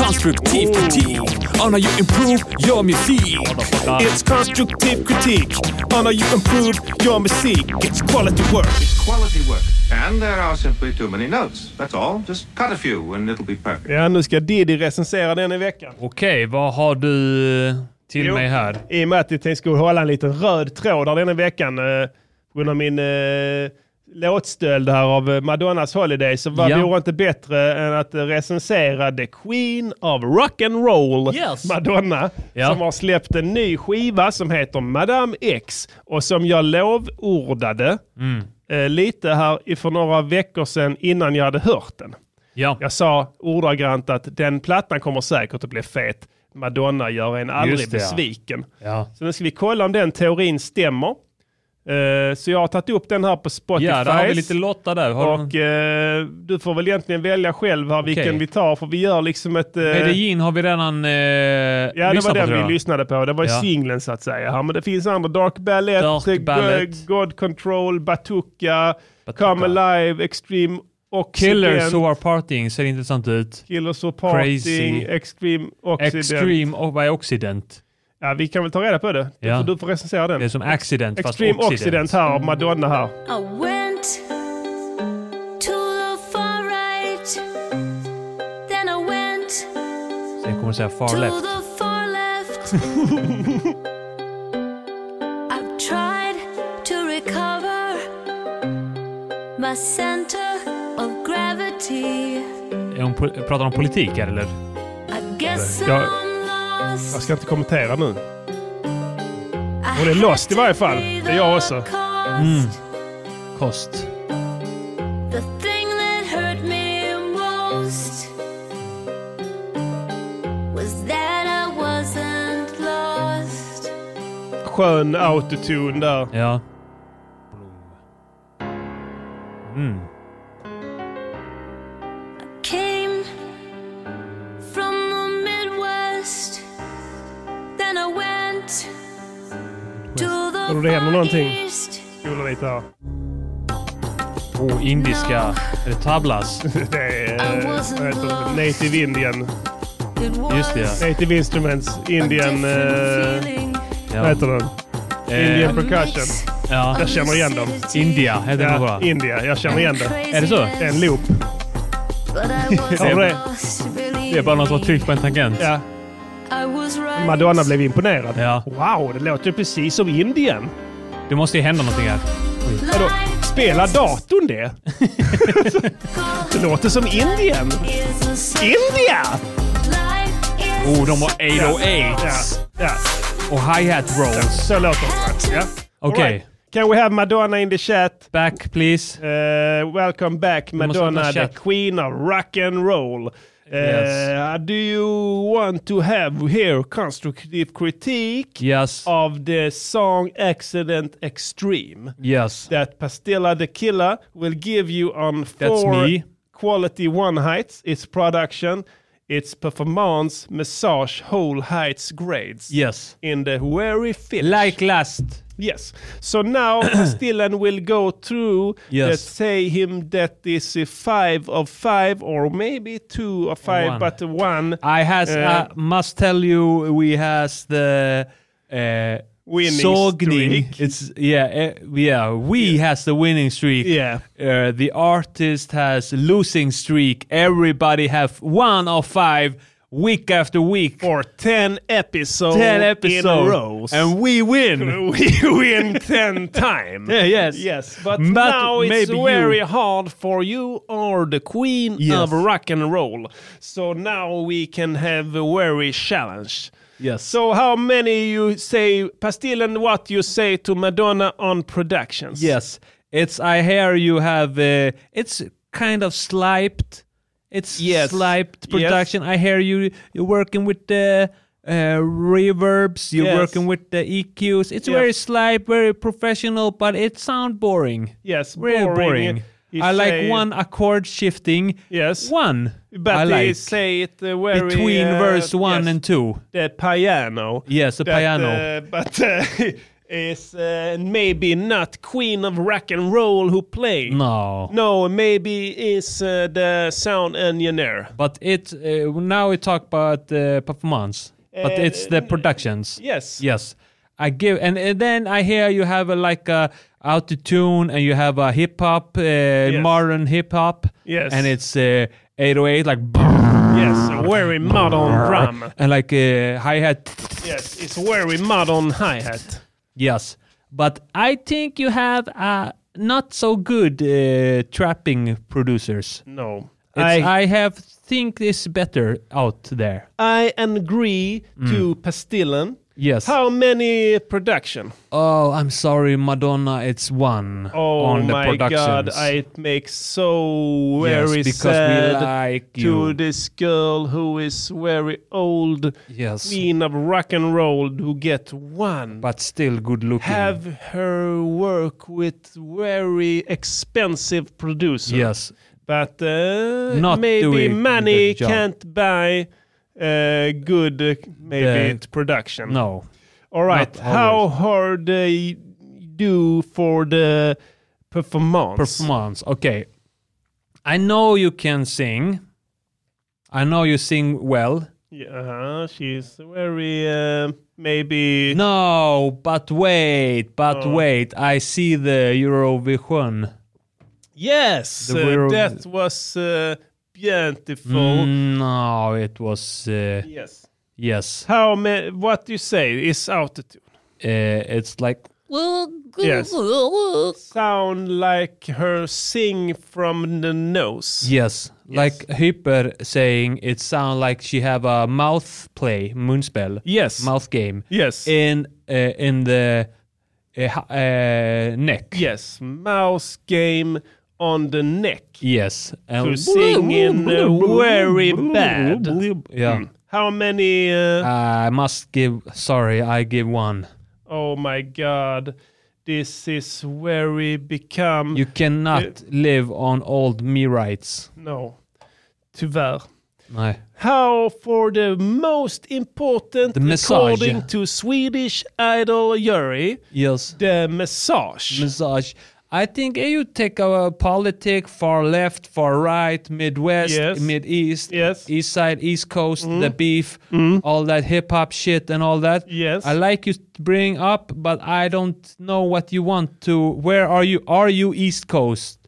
Speaker 16: Konstruktiv kritik. On how you improve your music.
Speaker 1: It's constructive critique. On how you improve your music. It's quality work.
Speaker 13: Quality work. And there are simply too many notes. That's all. Just cut a few and it'll be perfect.
Speaker 1: Ja, nu ska Diddy recensera den i veckan.
Speaker 2: Okej, vad har du till
Speaker 1: Jo.
Speaker 2: mig här?
Speaker 1: I och med att jag tänkte skulle hålla en liten röd tråd där denna veckan eh, på grund av min eh, låtstöld här av eh, Madonnas Holiday så var
Speaker 2: Ja.
Speaker 1: vore inte bättre än att eh, recensera The Queen of Rock'n'Roll,
Speaker 2: Yes.
Speaker 1: Madonna,
Speaker 2: Ja.
Speaker 1: som har släppt en ny skiva som heter Madame X och som jag lovordade
Speaker 2: Mm.
Speaker 1: eh, lite här i- för några veckor sedan innan jag hade hört den.
Speaker 2: Ja.
Speaker 1: Jag sa ordagrant att den plattan kommer säkert att bli fet. Madonna gör en aldrig
Speaker 2: det, ja.
Speaker 1: besviken.
Speaker 2: Ja.
Speaker 1: Så nu ska vi kolla om den teorin stämmer. Eh, så jag har tagit upp den här på Spotify.
Speaker 2: Ja, där har vi lite låtar där. Har
Speaker 1: och eh, du får väl egentligen välja själv här vilken vi tar, för vi gör liksom ett... eh,
Speaker 2: Medellin har vi redan eh,
Speaker 1: Ja, det var
Speaker 2: lyssnat på,
Speaker 1: den
Speaker 2: tror jag.
Speaker 1: vi lyssnade på. Det var
Speaker 2: Ja.
Speaker 1: singeln så att säga. Ja, men det finns andra. Dark Ballet, eh,
Speaker 2: Dark Ballet.
Speaker 1: God Control, Batuka, Come Alive, Extreme Occident.
Speaker 2: Killers Who Are Partying ser intressant ut.
Speaker 1: Killers Who Parting, Extreme Occident.
Speaker 2: Extreme och by Occident.
Speaker 1: Ja, vi kan väl ta reda på det. Du,
Speaker 2: Ja.
Speaker 1: får, du får recensera den.
Speaker 2: Det är som Accident fast
Speaker 1: Extreme
Speaker 2: Occident.
Speaker 1: Occident här av Madonna här.
Speaker 17: I went to the far right, then I went
Speaker 2: Sen kommer jag säga
Speaker 17: to
Speaker 2: Far Left.
Speaker 17: the far left. I've tried to recover my center of gravity.
Speaker 2: Är hon po- pratar om politik här eller?
Speaker 17: I guess
Speaker 1: Jag,
Speaker 17: I'm lost.
Speaker 1: jag ska inte kommentera nu. Hon är lost i varje fall. Det är jag också.
Speaker 17: Mm.
Speaker 2: Kost.
Speaker 17: The thing that hurt me most was that I wasn't lost.
Speaker 1: Skön autotune där.
Speaker 2: Ja.
Speaker 17: Came from the Midwest, then I went to
Speaker 1: Tror du
Speaker 17: the
Speaker 1: det händer någonting?
Speaker 17: East.
Speaker 1: Spola lite här.
Speaker 2: Oh, indiska. Är det tablas?
Speaker 1: det är eh, vad heter det? Native Indian.
Speaker 17: It was
Speaker 2: Just det, ja.
Speaker 1: Native Instruments. Indian... eh, Vad heter den?
Speaker 2: Eh,
Speaker 1: Indian Percussion.
Speaker 2: Ja.
Speaker 1: Jag känner igen dem.
Speaker 2: India heter den
Speaker 1: ja,
Speaker 2: bara.
Speaker 1: India. Jag känner igen det.
Speaker 2: Är det så?
Speaker 1: Det är en loop.
Speaker 17: But I
Speaker 2: [laughs]
Speaker 1: Har du det?
Speaker 2: Det är bara någon som har tryckt på en tangent.
Speaker 1: Ja.
Speaker 17: I was right.
Speaker 1: Madonna blev imponerad.
Speaker 2: Ja.
Speaker 1: Wow, det låter ju precis som Indien.
Speaker 2: Det måste ju hända någonting här.
Speaker 1: Vadå? Spelar datorn det? det låter som Indien. India!
Speaker 2: Oh, de har 808
Speaker 1: Ja.
Speaker 2: och hi-hat rolls.
Speaker 1: Så låter det. Ja.
Speaker 2: Okej.
Speaker 1: All right. Can we have Madonna in the chat? Eh,
Speaker 2: Back please.
Speaker 1: welcome back
Speaker 2: måste öppna
Speaker 1: Madonna, the
Speaker 2: chat.
Speaker 1: queen of rock and roll. Eh,
Speaker 2: Yes.
Speaker 1: do you want to have here constructive critique
Speaker 2: Yes.
Speaker 1: of the song Accident Extreme?
Speaker 2: Yes.
Speaker 1: that Pastilla the Killer will give you on
Speaker 2: That's
Speaker 1: four
Speaker 2: me.
Speaker 1: quality one heights, its production, its performance, massage, whole heights grades.
Speaker 2: Yes.
Speaker 1: In the very finish.
Speaker 2: Like last.
Speaker 1: Yes.
Speaker 2: [clears throat]
Speaker 1: So now Pastillan will go through,
Speaker 2: Yes.
Speaker 1: let's say him that is a five of five or maybe two of five,
Speaker 2: One.
Speaker 1: but one.
Speaker 2: I has
Speaker 1: Uh,
Speaker 2: I must tell you we has the uh,
Speaker 1: Winning
Speaker 2: sogning.
Speaker 1: streak.
Speaker 2: It's yeah uh, yeah we has the winning streak.
Speaker 1: Yeah.
Speaker 2: Uh, the artist has losing streak. Everybody have one of five. week after week.
Speaker 1: For 10 episodes,
Speaker 2: 10
Speaker 1: in a row.
Speaker 2: episodes. And we win!
Speaker 1: [laughs] We
Speaker 2: [laughs]
Speaker 1: win 10 times.
Speaker 2: Yeah, yes.
Speaker 1: Yes, but,
Speaker 2: But
Speaker 1: now it's
Speaker 2: maybe you-
Speaker 1: very hard for you are the queen
Speaker 2: Yes.
Speaker 1: of rock and roll. So now we can have a very challenge.
Speaker 2: Yes.
Speaker 1: So how many you say Pastil and what you say to Madonna on productions?
Speaker 2: Yes, it's. I hear you have. Uh, it's kind of sliped. It's
Speaker 1: Yes.
Speaker 2: sliped
Speaker 1: Yes.
Speaker 2: production. I hear you. You're working with the uh, reverbs. You're
Speaker 1: Yes.
Speaker 2: working with the EQs. It's
Speaker 1: Yeah.
Speaker 2: very slipe, very professional, but it sound boring.
Speaker 1: Yes,
Speaker 2: very boring.
Speaker 1: You
Speaker 2: I like
Speaker 1: say-
Speaker 2: one accord shifting.
Speaker 1: Yes.
Speaker 2: One.
Speaker 1: But
Speaker 2: I
Speaker 1: they
Speaker 2: like
Speaker 1: say it uh, very
Speaker 2: between
Speaker 1: uh,
Speaker 2: verse one
Speaker 1: yes.
Speaker 2: and two.
Speaker 1: the piano.
Speaker 2: Yes, the
Speaker 1: that,
Speaker 2: piano.
Speaker 1: uh, but uh, [laughs] is uh, maybe not Queen of Rock and Roll who play.
Speaker 2: No.
Speaker 1: No, maybe is uh, the sound engineer.
Speaker 2: But it uh, now we talk about uh, performance, but
Speaker 1: Uh,
Speaker 2: it's the productions.
Speaker 1: yes.
Speaker 2: Yes. I give, and, and then I hear you have a, like a auto tune, and you have a hip hop, uh, modern hip hop.
Speaker 1: Yes.
Speaker 2: And it's uh, 808 like.
Speaker 1: Yes, a very modern drum.
Speaker 2: And like uh, hi hat.
Speaker 1: Yes, it's very modern hi hat.
Speaker 2: Yes, but I think you have uh, not so good uh, trapping producers.
Speaker 1: No,
Speaker 2: It's-
Speaker 1: I-
Speaker 2: I have think is better out there.
Speaker 1: I agree to Pastillen.
Speaker 2: Yes.
Speaker 1: How many production?
Speaker 2: Oh, I'm sorry, Madonna. It's one
Speaker 1: Oh
Speaker 2: on the
Speaker 1: my god,
Speaker 2: productions.
Speaker 1: I make so
Speaker 2: Yes,
Speaker 1: very
Speaker 2: because we
Speaker 1: sad
Speaker 2: like
Speaker 1: to
Speaker 2: you.
Speaker 1: this girl who is very old,
Speaker 2: Yes.
Speaker 1: queen of rock and roll, who get one.
Speaker 2: but still good looking.
Speaker 1: Have her work with very expensive producer.
Speaker 2: Yes.
Speaker 1: but uh,
Speaker 2: Not
Speaker 1: maybe
Speaker 2: doing
Speaker 1: money
Speaker 2: the job.
Speaker 1: can't buy uh, good uh, maybe
Speaker 2: The-
Speaker 1: production.
Speaker 2: No.
Speaker 1: All right.
Speaker 2: Not
Speaker 1: How hard they do for the performance?
Speaker 2: Performance. Okay. I know you can sing. I know you sing well.
Speaker 1: Yeah, uh-huh, she's very uh, maybe.
Speaker 2: No, but wait, but
Speaker 1: Oh.
Speaker 2: wait. I see the Eurovision.
Speaker 1: Yes,
Speaker 2: The
Speaker 1: uh,
Speaker 2: Euro-
Speaker 1: that was uh, beautiful.
Speaker 2: Mm, No, it was uh,
Speaker 1: Yes.
Speaker 2: yes.
Speaker 1: How ma- What you say is altitude.
Speaker 2: Uh, it's like
Speaker 1: Yes. Sound like her sing from the nose.
Speaker 2: yes, like Hyper saying. It sounds like she have a mouth play, moonspell.
Speaker 1: Yes.
Speaker 2: mouth game.
Speaker 1: Yes.
Speaker 2: in uh, in the uh, ha- uh, neck.
Speaker 1: Yes, mouse game on the neck.
Speaker 2: Yes,
Speaker 1: To sing in uh, very bad.
Speaker 2: Yeah,
Speaker 1: Mm. How many? Uh,
Speaker 2: I must give. Sorry, I give one.
Speaker 1: oh my god, this is very become.
Speaker 2: You cannot live on old me rights.
Speaker 1: no, tyvärr.
Speaker 2: Nej.
Speaker 1: How for the most important,
Speaker 2: The massage.
Speaker 1: according to Swedish Idol jury,
Speaker 2: Yes.
Speaker 1: the massage.
Speaker 2: massage. I think eh, you take a politic far left, far right, Midwest,
Speaker 1: Yes.
Speaker 2: Mid East,
Speaker 1: Yes. Mm.
Speaker 2: East Side, East Coast, the beef, all that hip hop shit and all that.
Speaker 1: Yes.
Speaker 2: I like you to bring up, but I don't know what you want to. Where are you? Are you East Coast?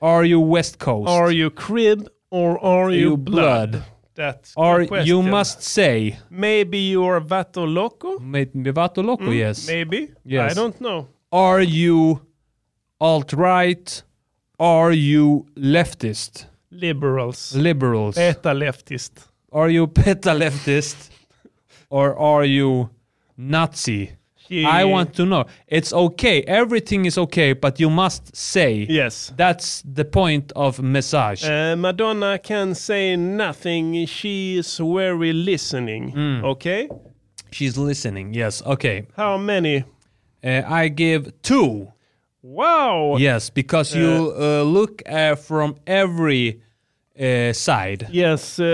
Speaker 2: Are you West Coast?
Speaker 1: are you crib or are you,
Speaker 2: You blood?
Speaker 1: That's the
Speaker 2: Are you
Speaker 1: question.
Speaker 2: must say
Speaker 1: Maybe you are vato loco.
Speaker 2: Maybe Vato Loco?
Speaker 1: Mm,
Speaker 2: yes.
Speaker 1: Maybe.
Speaker 2: Yes.
Speaker 1: I don't know.
Speaker 2: Are you alt right? Are you leftist?
Speaker 1: Liberals.
Speaker 2: Liberals.
Speaker 1: Beta leftist.
Speaker 2: Are you PETA leftist or are you Nazi?
Speaker 1: She-
Speaker 2: I want to know. It's okay. Everything is okay, but you must say.
Speaker 1: Yes.
Speaker 2: That's the point of massage.
Speaker 1: Uh, Madonna can say nothing. She is very listening.
Speaker 2: Mm.
Speaker 1: Okay?
Speaker 2: She's listening. Yes. Okay.
Speaker 1: How many?
Speaker 2: Uh, I give two.
Speaker 1: Wow.
Speaker 2: Yes, because you uh, look uh, from every uh, side.
Speaker 1: Yes, uh,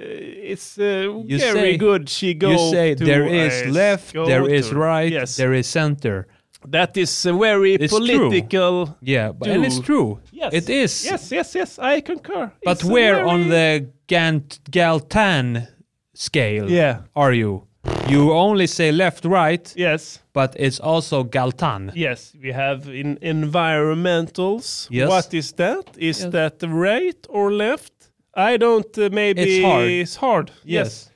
Speaker 1: it's uh,
Speaker 2: You
Speaker 1: very
Speaker 2: say-
Speaker 1: good. She goes.
Speaker 2: you say there is left, there is right,
Speaker 1: Yes,
Speaker 2: there is center.
Speaker 1: that is uh, very
Speaker 2: It's true.
Speaker 1: political.
Speaker 2: Yeah, but, and it's
Speaker 1: Do-
Speaker 2: true.
Speaker 1: Yes,
Speaker 2: It is.
Speaker 1: Yes, yes, yes. I concur.
Speaker 2: But
Speaker 1: It's a
Speaker 2: where on
Speaker 1: very-
Speaker 2: the Gant Galtan scale
Speaker 1: Yeah.
Speaker 2: are you? You only say left, right,
Speaker 1: Yes,
Speaker 2: but it's also Galtan.
Speaker 1: yes. We have in environmentals.
Speaker 2: Yes.
Speaker 1: What is that? Is
Speaker 2: Yes.
Speaker 1: that right or left? I don't uh, maybe
Speaker 2: It's hard.
Speaker 1: it's hard.
Speaker 2: Yes.
Speaker 1: Yes.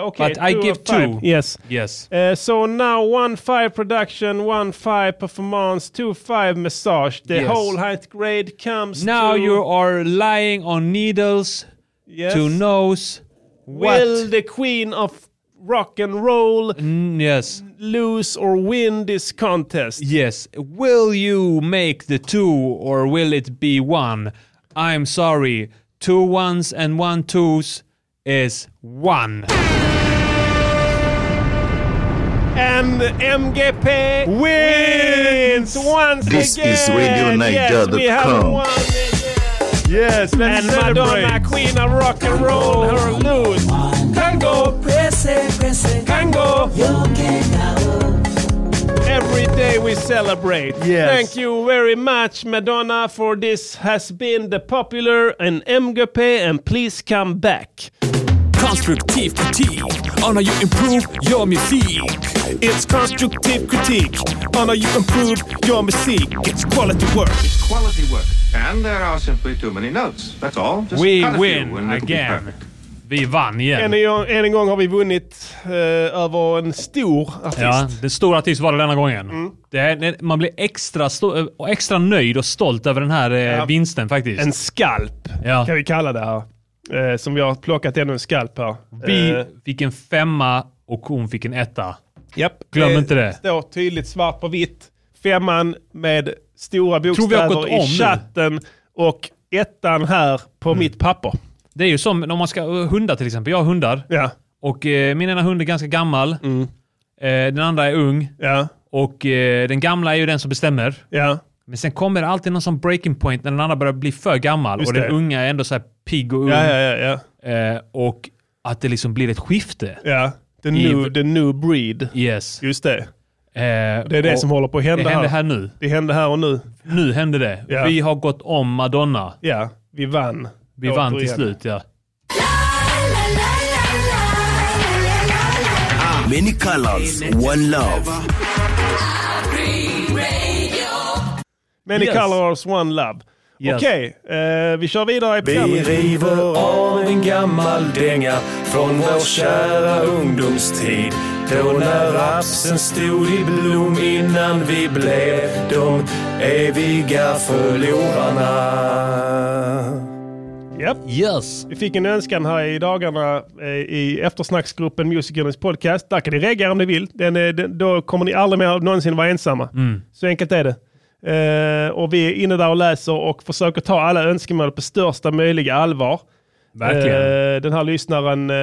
Speaker 1: Uh, okay.
Speaker 2: But I
Speaker 1: two
Speaker 2: give
Speaker 1: of five.
Speaker 2: two.
Speaker 1: Yes.
Speaker 2: Yes.
Speaker 1: Uh, so now one five production, one five performance, two five massage. The
Speaker 2: Yes.
Speaker 1: whole height grade comes
Speaker 2: Now
Speaker 1: to
Speaker 2: you are lying on needles
Speaker 1: Yes.
Speaker 2: to nose. What?
Speaker 1: will the queen of rock and roll
Speaker 2: yes.
Speaker 1: lose or win this contest?
Speaker 2: Yes. Will you make the two or will it be one? I'm sorry. Two ones and one twos is one.
Speaker 1: And MGP wins, once
Speaker 18: This
Speaker 1: again.
Speaker 18: is RadioNiger.com.
Speaker 1: Yes, we have won again.
Speaker 18: let's
Speaker 1: Yes, and Madonna,
Speaker 18: celebrate.
Speaker 1: queen of rock and roll, her lose. Congo, Congo. Every day we celebrate.
Speaker 18: Yes.
Speaker 1: Thank you very much, Madonna, for this has been the popular and MGP, and please come back.
Speaker 16: Constructive critique on how you improve your music.
Speaker 19: It's constructive critique on how you improve your music. It's quality work.
Speaker 13: Quality work. And there are simply too many notes. That's all. Just
Speaker 2: We
Speaker 13: cut a few
Speaker 2: win
Speaker 13: and it'll be
Speaker 2: again.
Speaker 13: perfect.
Speaker 2: Vi vann
Speaker 1: Än
Speaker 2: igen.
Speaker 1: en, gång- än en uh, gång har vi vunnit eh, över en stor artist.
Speaker 2: Ja, den stora artist var det denna gången.
Speaker 1: Mm.
Speaker 2: Det är, det- man blir extra, sto- eh, och extra nöjd och stolt över den här eh,
Speaker 1: Ja.
Speaker 2: vinsten faktiskt.
Speaker 1: En skalp
Speaker 2: ja.
Speaker 1: kan vi kalla det här. Eh, som vi har plockat ännu en skalp här.
Speaker 2: Vi
Speaker 1: Eh,
Speaker 2: fick en femma och hon fick en etta.
Speaker 1: Japp.
Speaker 2: Glöm inte det.
Speaker 1: står tydligt svart på vitt. Femman med stora bokstäver
Speaker 2: gått om
Speaker 1: i
Speaker 2: nu?
Speaker 1: chatten och ettan här på mitt papper.
Speaker 2: Det är ju som om man ska eh, hundar till exempel. Jag har hundar. Och eh, min ena hund är ganska gammal.
Speaker 1: Mm.
Speaker 2: Eh, den andra är ung. Och eh, den gamla är ju den som bestämmer. Men sen kommer det alltid någon sån breaking point när den andra börjar bli för gammal
Speaker 1: Just
Speaker 2: och den
Speaker 1: det.
Speaker 2: unga är ändå så här pigg och ung.
Speaker 1: Ja, ja, ja,
Speaker 2: Eh, och att det liksom blir ett skifte.
Speaker 1: Ja, the
Speaker 2: I-
Speaker 1: new, the new breed.
Speaker 2: Yes.
Speaker 1: Just det.
Speaker 2: det
Speaker 1: Det är det som håller på att hända
Speaker 2: Eh, det hände
Speaker 1: här.
Speaker 2: här nu.
Speaker 1: Det hände här och nu.
Speaker 2: Nu hände det.
Speaker 1: Ja.
Speaker 2: Vi har gått om Madonna.
Speaker 1: Ja, vi vann.
Speaker 2: Vi vann till
Speaker 1: Återigen.
Speaker 2: slut, ja.
Speaker 14: Many colors, one love.
Speaker 1: Many
Speaker 14: Yes.
Speaker 1: colors, one love.
Speaker 14: Yes.
Speaker 1: Okej, eh, vi kör vidare i
Speaker 19: Vi
Speaker 1: programmet.
Speaker 19: river av en gammal dänga från vår kära ungdomstid. Då när rapsen stod i blom innan vi blev de eviga förlorarna.
Speaker 1: Yep.
Speaker 2: Yes.
Speaker 1: Vi fick en önskan här i dagarna eh, i eftersnacksgruppen Musikernas podcast. Där kan ni reagera om ni vill. Den, är- den, då kommer ni aldrig mer någonsin vara ensamma.
Speaker 2: Mm.
Speaker 1: Så enkelt är det. Eh, och vi är inne där och läser och försöker ta alla önskemål på största möjliga allvar.
Speaker 2: Verkligen.
Speaker 1: Eh, den här lyssnaren eh,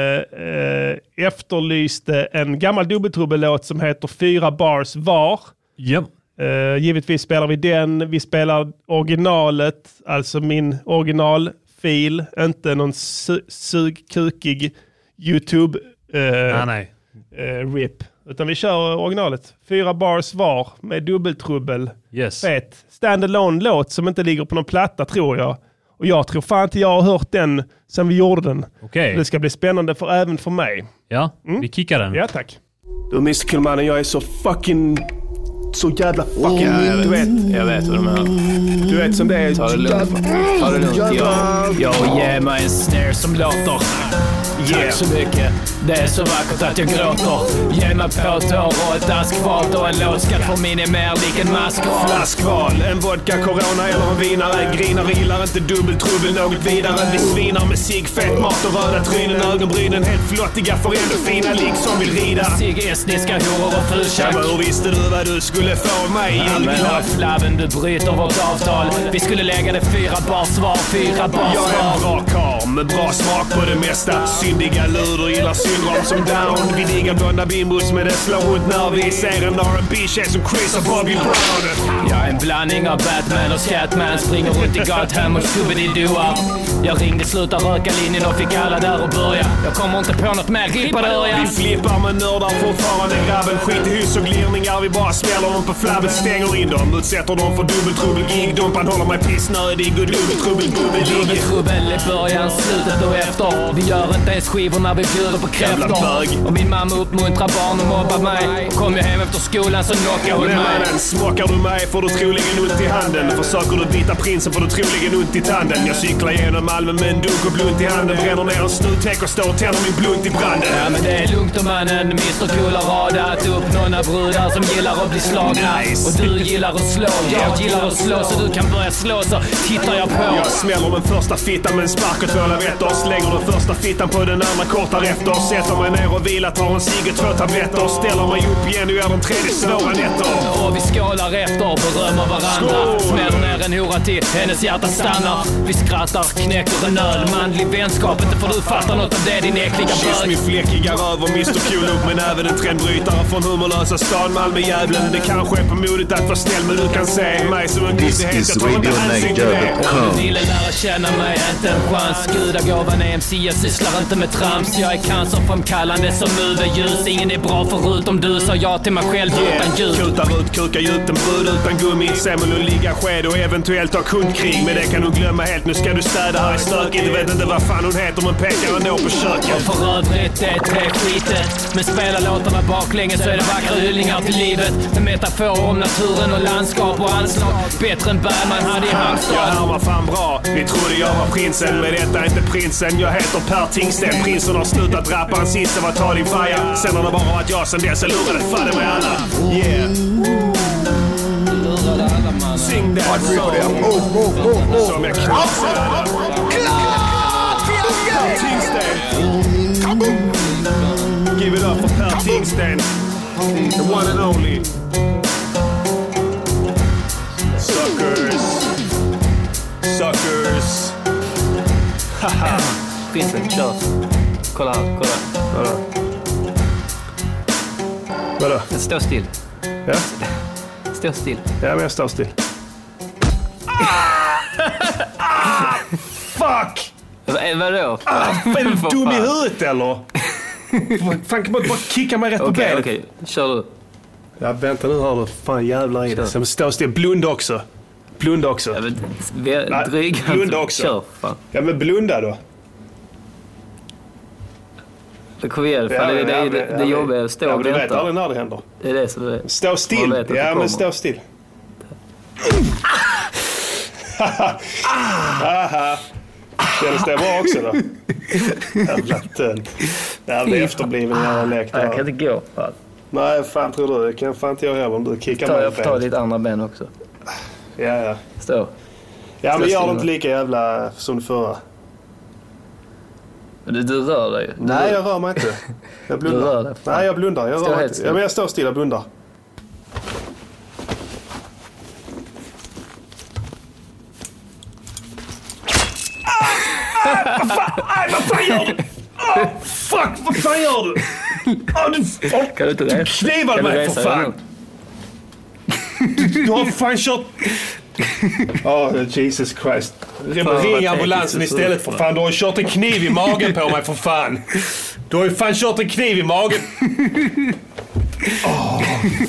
Speaker 1: eh, efterlyste en gammal dubbeltrubbelåt som heter Fyra bars var.
Speaker 2: Yep.
Speaker 1: Eh, givetvis spelar vi den. Vi spelar originalet, alltså min originalfil. Inte någon su- sugkukig YouTube eh,
Speaker 2: nej.
Speaker 1: eh, RIP. Utan vi kör eh, originalet. Fyra bars var med dubbeltrubbel.
Speaker 2: Yes.
Speaker 1: Fet. Standalone låt som inte ligger på någon platta tror jag. Och jag tror fan inte jag har hört den sen vi gjorde den.
Speaker 2: Okej.
Speaker 1: Det ska bli spännande för, även för mig.
Speaker 2: Ja, vi kickar den.
Speaker 1: Mm. Ja, tack.
Speaker 20: Du Muskelmannen, jag är så fucking... Så jävla fucking...
Speaker 18: Ja, jag
Speaker 20: du vet.
Speaker 18: vet. Jag vet vad de är.
Speaker 20: Du vet som det är.
Speaker 18: Ta det lugnt. Ta det lugnt. Jag, jag ger mig en snare som låter.
Speaker 10: Tack så mycket. Det är så vackert att jag gråter. Ge mig på ett hår och ett askfat och en låtskatt för minimer lik en maskval.
Speaker 19: Flaskval, en vodka, corona eller en vinare. Grinar, gillar inte dubbeltrubbel något vidare. Vi svinar med cigg, fet mat och röda trynen. Ögonbrynen helt flottiga, för ändå fina lik som vill rida.
Speaker 10: Cigg, estniska horor och fultjack.
Speaker 19: Tjabba, hur visste du vad du skulle få av mig? Julklapp.
Speaker 10: Flabben, du bryter vårt avtal. Vi skulle lägga det fyra bars var, fyra bars
Speaker 19: Jag är en
Speaker 10: var.
Speaker 19: bra karl med bra smak på det mesta. Syndiga luder gillar syndrom som down. Vi diggar blonda bimbos men det slår ut när vi ser en R&B-tjej som Chris och Bobby Brown.
Speaker 10: Jag är en blandning av Batman och Scatman. Springer runt i Gotham och Scooby-Doo. Jag ringde sluta röka-linjen och fick alla där att börja. Jag kommer inte på något mer. Klippa
Speaker 19: Vi
Speaker 10: dörren.
Speaker 19: flippar men nördar fortfarande grabben. Skit i hyss och glirningar, vi bara smäller dem på flabben. Stänger in dem, utsätter dem för dubbeltrubbel. Gigdumpan håller mig pissnödig och dubbeltrubbel
Speaker 10: Dubbeltrubbel i början, slutet och efter. Vi gör inte VHS-skivor när vi bjuder på kräftor. Och min mamma uppmuntrar barn och mobbar mig. Och kom jag hem efter skolan så knockade hon
Speaker 1: Nej,
Speaker 10: mig.
Speaker 1: mannen, smakar du mig får du troligen ont i handen. Försöker du bita prinsen får du troligen ont i tanden. Jag cyklar genom Malmö med en dunk och blunt i handen. Bränner ner en snuthäck och står och tänder min blunt i branden.
Speaker 10: Ja men det är lugnt om mannen, Mr Cool har radat upp några brudar som gillar att bli slagna.
Speaker 1: Nice.
Speaker 10: Och du gillar att slå, jag gillar att slå så du kan börja slå så tittar jag på.
Speaker 1: Jag smäller den första fittan med en spark och två lavetter. Slänger den första fittan på den andra kort därefter. Sätter mig ner och vilar, tar en cigg och två tabletter. Ställer mig upp igen och gör de tredje svåra nätter.
Speaker 10: Och vi skålar efter och berömmer varandra. Smäller ner en hora till, hennes hjärta stannar. Vi skrattar, knäcker en öl. Manlig vänskap, inte får du fatta något av det din äckliga
Speaker 1: Kyss
Speaker 10: bög.
Speaker 1: min fläckiga röv och Mr Cool upp men även en trendbrytare från humorlösa stan Malmö djävulen. Det kanske är på modet att vara snäll men du kan se mig som en
Speaker 12: This
Speaker 1: guddighet.
Speaker 12: is
Speaker 1: Jag tar inte hänsyn till det.
Speaker 10: Om du ville lära känna mig, inte en chans. Gudagåvan är MC, jag sysslar inte med trams. Jag är cancerframkallande som UV-ljus. Ingen är bra förutom du, sa jag till mig själv utan ljud.
Speaker 1: Kutar ut, kukar djupt, en brud utan gummi. Semel och ligga sked och eventuellt ha kundkrig. Men det kan du glömma helt, nu ska du städa här i stökigt. Vet inte vad fan hon heter men pekar ändå på
Speaker 10: Och
Speaker 1: köket.
Speaker 10: för övrigt det är skitet. Men spelar låtarna baklänges så är det vackra hyllningar till livet. Med metaforer om naturen och landskap och anslag. Bättre än Bergman hade i
Speaker 1: Jag
Speaker 10: Halmstad.
Speaker 1: härmar fan bra. Ni trodde jag var prinsen, men detta är inte prinsen. Jag heter Per Tingsten. Prinsen har slutat rappa, hans sista var ta din faja. Sen har det bara varit jag sen dess, jag lurade fadder med alla. Yeah. Sing that song. Som jag knappt Give it up for Per Tingsten. The one and only. Suckers. Suckers. Haha.
Speaker 21: Prinsen, kör. Kolla här, kolla.
Speaker 1: Vadå? Vadå?
Speaker 21: Den står still.
Speaker 1: Ja?
Speaker 21: Står still.
Speaker 1: Ja, men jag står still. Ah! [laughs] Fuck!
Speaker 21: V- eh, vadå?
Speaker 1: Är du
Speaker 21: För
Speaker 1: dum i
Speaker 21: fan.
Speaker 1: huvudet eller? Fan, kan man inte bara kicka mig rätt på
Speaker 21: Okej,
Speaker 1: benet?
Speaker 21: okej. Kör du.
Speaker 1: Ja, vänta nu hör du. Fan jävlar i det.
Speaker 21: Kör.
Speaker 1: Sen står still. Blunda också. Blunda också. Ja,
Speaker 21: dryga inte.
Speaker 1: blunda också.
Speaker 21: Kör,
Speaker 1: Ja, men blunda då.
Speaker 21: Då Kom igen, fan, det, det, det, det, det jobbiga är att stå
Speaker 1: ja,
Speaker 21: och
Speaker 1: men Du vet
Speaker 21: vänta.
Speaker 1: aldrig när det händer.
Speaker 21: Det är det som är...
Speaker 1: Stå still.
Speaker 21: Man vet att det
Speaker 1: Ja,
Speaker 21: kommer.
Speaker 1: men
Speaker 21: [laughs]
Speaker 1: stå still. Haha. Kändes det bra också då? Jävla tönt. Det här blir efterbliven jävla lek.
Speaker 21: Ja, jag kan
Speaker 1: inte gå. Nej, fan tror du? Det kan fan inte jag heller om du kickar
Speaker 21: Ta,
Speaker 1: mig i
Speaker 21: jag får ta
Speaker 1: benet.
Speaker 21: ditt andra ben också.
Speaker 1: Ja, ja.
Speaker 21: Stå.
Speaker 1: Ja, men
Speaker 21: Stå
Speaker 1: gör
Speaker 21: still
Speaker 1: det inte
Speaker 21: nu.
Speaker 1: lika jävla som det förra.
Speaker 21: Du, du rör dig ju. Du
Speaker 1: Nej,
Speaker 21: rör-
Speaker 1: jag rör
Speaker 21: [laughs]
Speaker 1: mig inte. Jag
Speaker 21: Du rör
Speaker 1: blundar.
Speaker 21: dig.
Speaker 1: Nej, jag blundar. Jag
Speaker 21: Stå
Speaker 1: rör mig
Speaker 21: helt
Speaker 1: inte.
Speaker 21: still.
Speaker 1: Ja, men jag står stilla och blundar. Nej, vad fan gör du? Oh, fuck, vad fan gör du? Oh, du oh,
Speaker 21: Kan du inte
Speaker 1: du
Speaker 21: resa?
Speaker 1: knivade
Speaker 21: Kan du
Speaker 1: mig för
Speaker 21: resa
Speaker 1: fan!
Speaker 21: emot?
Speaker 1: Du, du har fan kört... Ja, Jesus Christ.
Speaker 21: vad
Speaker 1: Ring ambulansen
Speaker 21: tekniskt
Speaker 1: istället för
Speaker 21: super.
Speaker 1: fan. Du har ju kört en kniv i magen på mig för fan. Du har ju fan kört en kniv i magen. Åh,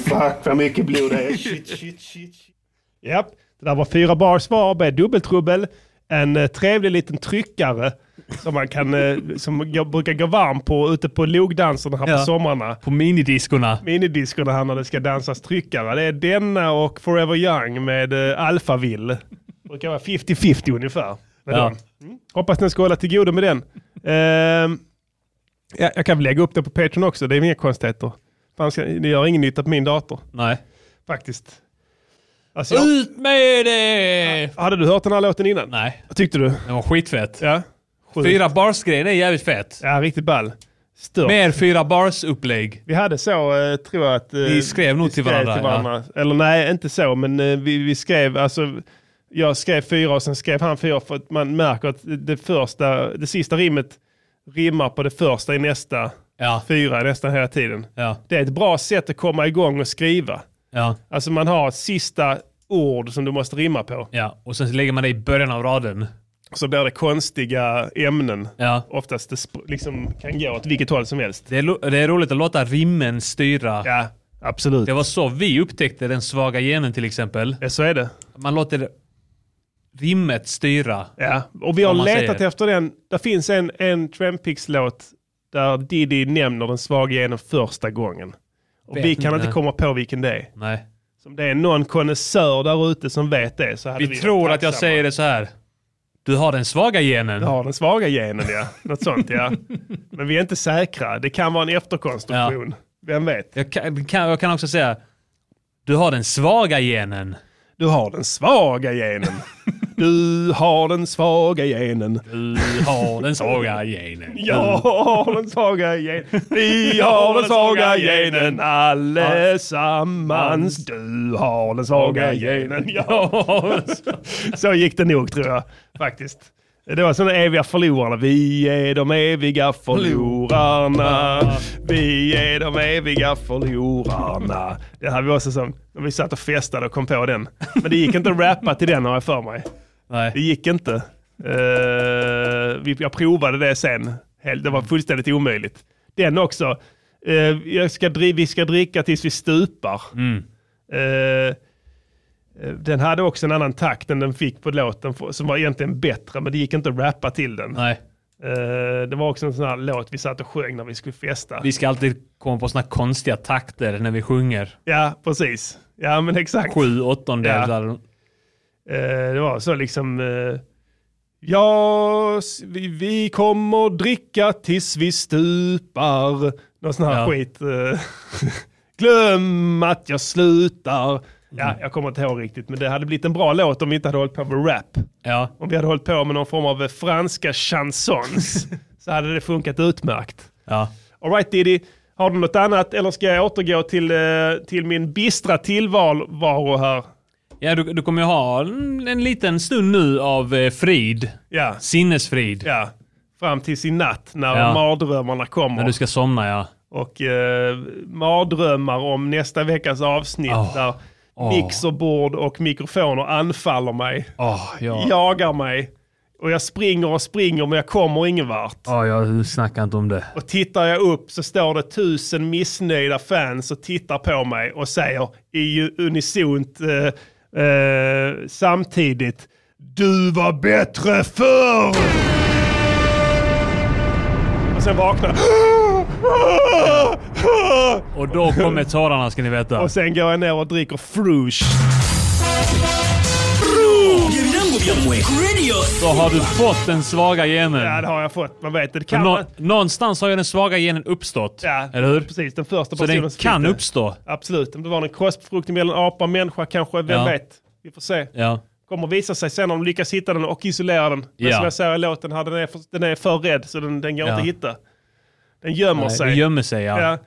Speaker 1: fuck vad mycket blod det är. [laughs] Shit, shit, shit.
Speaker 22: Japp, det där var fyra bars var med dubbeltrubbel, en eh, trevlig liten tryckare som man kan, eh, som jag brukar gå varm på ute på logdanserna här på
Speaker 2: Ja.
Speaker 22: sommarna.
Speaker 2: På minidiskorna.
Speaker 22: Minidiskorna här när det ska dansas tryckare. Det är denna och Forever Young med eh, Alphaville. Brukar vara 50-50 ungefär. Med
Speaker 2: Ja.
Speaker 22: dem. Mm. Hoppas ni ska hålla till godo med den. Ehm, ja, jag kan väl lägga upp det på Patreon också, det är inga konstigheter. Fan, ska- Det gör ingen nytta på min dator.
Speaker 2: Nej.
Speaker 22: Faktiskt. Alltså, jag-
Speaker 2: Ut med det!
Speaker 22: Hade du hört den här låten innan?
Speaker 2: Nej.
Speaker 22: Vad tyckte du?
Speaker 2: Den var skitfett.
Speaker 22: Ja.
Speaker 2: Fyra bars-grejen är jävligt fett.
Speaker 22: Ja, riktigt ball. Stört.
Speaker 2: Mer fyra bars-upplägg.
Speaker 22: Vi hade så, eh, tror jag att... eh,
Speaker 2: Vi skrev nog
Speaker 22: vi
Speaker 2: till
Speaker 22: skrev
Speaker 2: varandra,
Speaker 22: Eller nej, inte så, men eh, vi, vi skrev, alltså, jag skrev fyra och sen skrev han fyra för att man märker att det första, det sista rimmet rimmar på det första i nästa fyra nästan hela tiden. Det är ett bra sätt att komma igång och skriva.
Speaker 2: Ja.
Speaker 22: Alltså man har ett sista ord som du måste rimma på.
Speaker 2: Ja, och sen så lägger man det i början av raden.
Speaker 22: Så blir det konstiga ämnen.
Speaker 2: Ja.
Speaker 22: Oftast det sp- liksom kan gå åt vilket håll som helst.
Speaker 2: Det är, lo- det är roligt att låta rimmen styra.
Speaker 22: Ja, absolut.
Speaker 2: Det var så vi upptäckte den svaga genen till exempel.
Speaker 22: Ja, så är det.
Speaker 2: Man låter rimmet styra.
Speaker 1: Ja, och vi har
Speaker 2: Om man
Speaker 1: letat
Speaker 2: säger.
Speaker 1: efter den. Det finns en, en Trampix-låt där Diddy nämner den svaga genen första gången. Och
Speaker 2: Vet
Speaker 1: vi kan
Speaker 2: inte.
Speaker 1: inte komma på vilken det är.
Speaker 2: Nej.
Speaker 1: Om det är någon konnässör där ute som vet det så hade
Speaker 2: Vi
Speaker 1: vi...
Speaker 2: tror att jag säger det så här. Du har den svaga genen.
Speaker 1: Du har den svaga genen ja. Något sånt
Speaker 2: [laughs]
Speaker 1: ja. Men vi är inte säkra. Det kan vara en efterkonstruktion. Vem vet?
Speaker 2: Jag kan, kan, jag kan också säga. Du har den svaga genen.
Speaker 1: Du har den
Speaker 2: [laughs]
Speaker 1: svaga genen. Du har den svaga genen.
Speaker 2: Du har den svaga genen.
Speaker 1: Jag har den svaga genen. Mm. [laughs] Vi har den svaga genen allesammans. Du har den svaga genen. Jag [laughs] har den svaga- Så gick det nog tror jag faktiskt. Det var sådana eviga förlorarna. Vi är de eviga förlorarna. Vi är de eviga förlorarna. Det här var också som när vi satt och festade och kom på den. Men det gick inte att rappa till den har jag för mig.
Speaker 2: [laughs] Nej.
Speaker 1: Det gick inte. Eh, vi, jag provade det sen. Hel- Det var fullständigt omöjligt. Den också. eh, jag ska dri- vi ska dricka tills vi stupar.
Speaker 2: Mm.
Speaker 1: Eh, eh, den hade också en annan takt än den fick på låten för- som var egentligen bättre men det gick inte att rappa till den. Eh,
Speaker 2: Nej.
Speaker 1: det var också en sån här låt vi satt och sjöng när vi skulle festa.
Speaker 2: Vi ska alltid komma på såna konstiga takter när vi sjunger.
Speaker 1: Ja, precis. Ja, men exakt.
Speaker 2: Sju åttondelar.
Speaker 1: Eh, det var så liksom. Eh, ja, s- vi, vi kommer dricka tills vi stupar. Någon sån här
Speaker 2: Ja.
Speaker 1: skit. Eh, [laughs] glöm att jag slutar. Ja, jag kommer inte ihåg riktigt, men det hade blivit en bra låt om vi inte hade hållit på med rap.
Speaker 2: Ja.
Speaker 1: Om vi hade hållit på med någon form av eh, franska chansons så hade det funkat utmärkt.
Speaker 2: Ja.
Speaker 1: All right Diddy, har du något annat eller ska jag återgå till, eh, till min bistra tillvaro här?
Speaker 2: Ja, du, du kommer ju ha en, en liten stund nu av eh, frid.
Speaker 1: Ja.
Speaker 2: Sinnesfrid.
Speaker 1: Ja. Fram till sin natt när
Speaker 2: Ja.
Speaker 1: mardrömmarna kommer.
Speaker 2: När du ska somna, ja.
Speaker 1: Och eh, mardrömmar om nästa veckas avsnitt där
Speaker 2: Åh.
Speaker 1: mixerbord och mikrofoner anfaller mig.
Speaker 2: ja.
Speaker 1: Jagar mig. Och jag springer och springer men jag kommer ingen vart.
Speaker 2: Ja, jag snackar inte om det.
Speaker 1: Och tittar jag upp så står det tusen missnöjda fans och tittar på mig och säger i u- unisont eh, eh, samtidigt Du var bättre förr! Och sen vaknar
Speaker 2: Och då kommer tårarna ska ni veta.
Speaker 1: Och sen går jag ner och dricker frush.
Speaker 2: Då har du fått den svaga genen.
Speaker 1: Ja, det har jag fått. Man vet det. det kan
Speaker 2: Nå-
Speaker 1: man.
Speaker 2: Någonstans har ju den svaga genen uppstått.
Speaker 1: Ja,
Speaker 2: eller hur?
Speaker 1: Precis, den första
Speaker 2: Så
Speaker 1: personen
Speaker 2: den
Speaker 1: som
Speaker 2: kan
Speaker 1: fick det.
Speaker 2: uppstå.
Speaker 1: Absolut, om det var en korsbefruktning mellan apa och människa kanske, vem
Speaker 2: Ja.
Speaker 1: vet? Vi får se.
Speaker 2: Ja.
Speaker 1: Kommer visa sig sen om de lyckas hitta den och isolera den. Men
Speaker 2: Ja.
Speaker 1: som jag säger i låten, här, den, är för, den är för rädd så den, den går
Speaker 2: Ja.
Speaker 1: inte att hitta. Den gömmer
Speaker 2: Nej,
Speaker 1: sig.
Speaker 2: den gömmer sig, ja.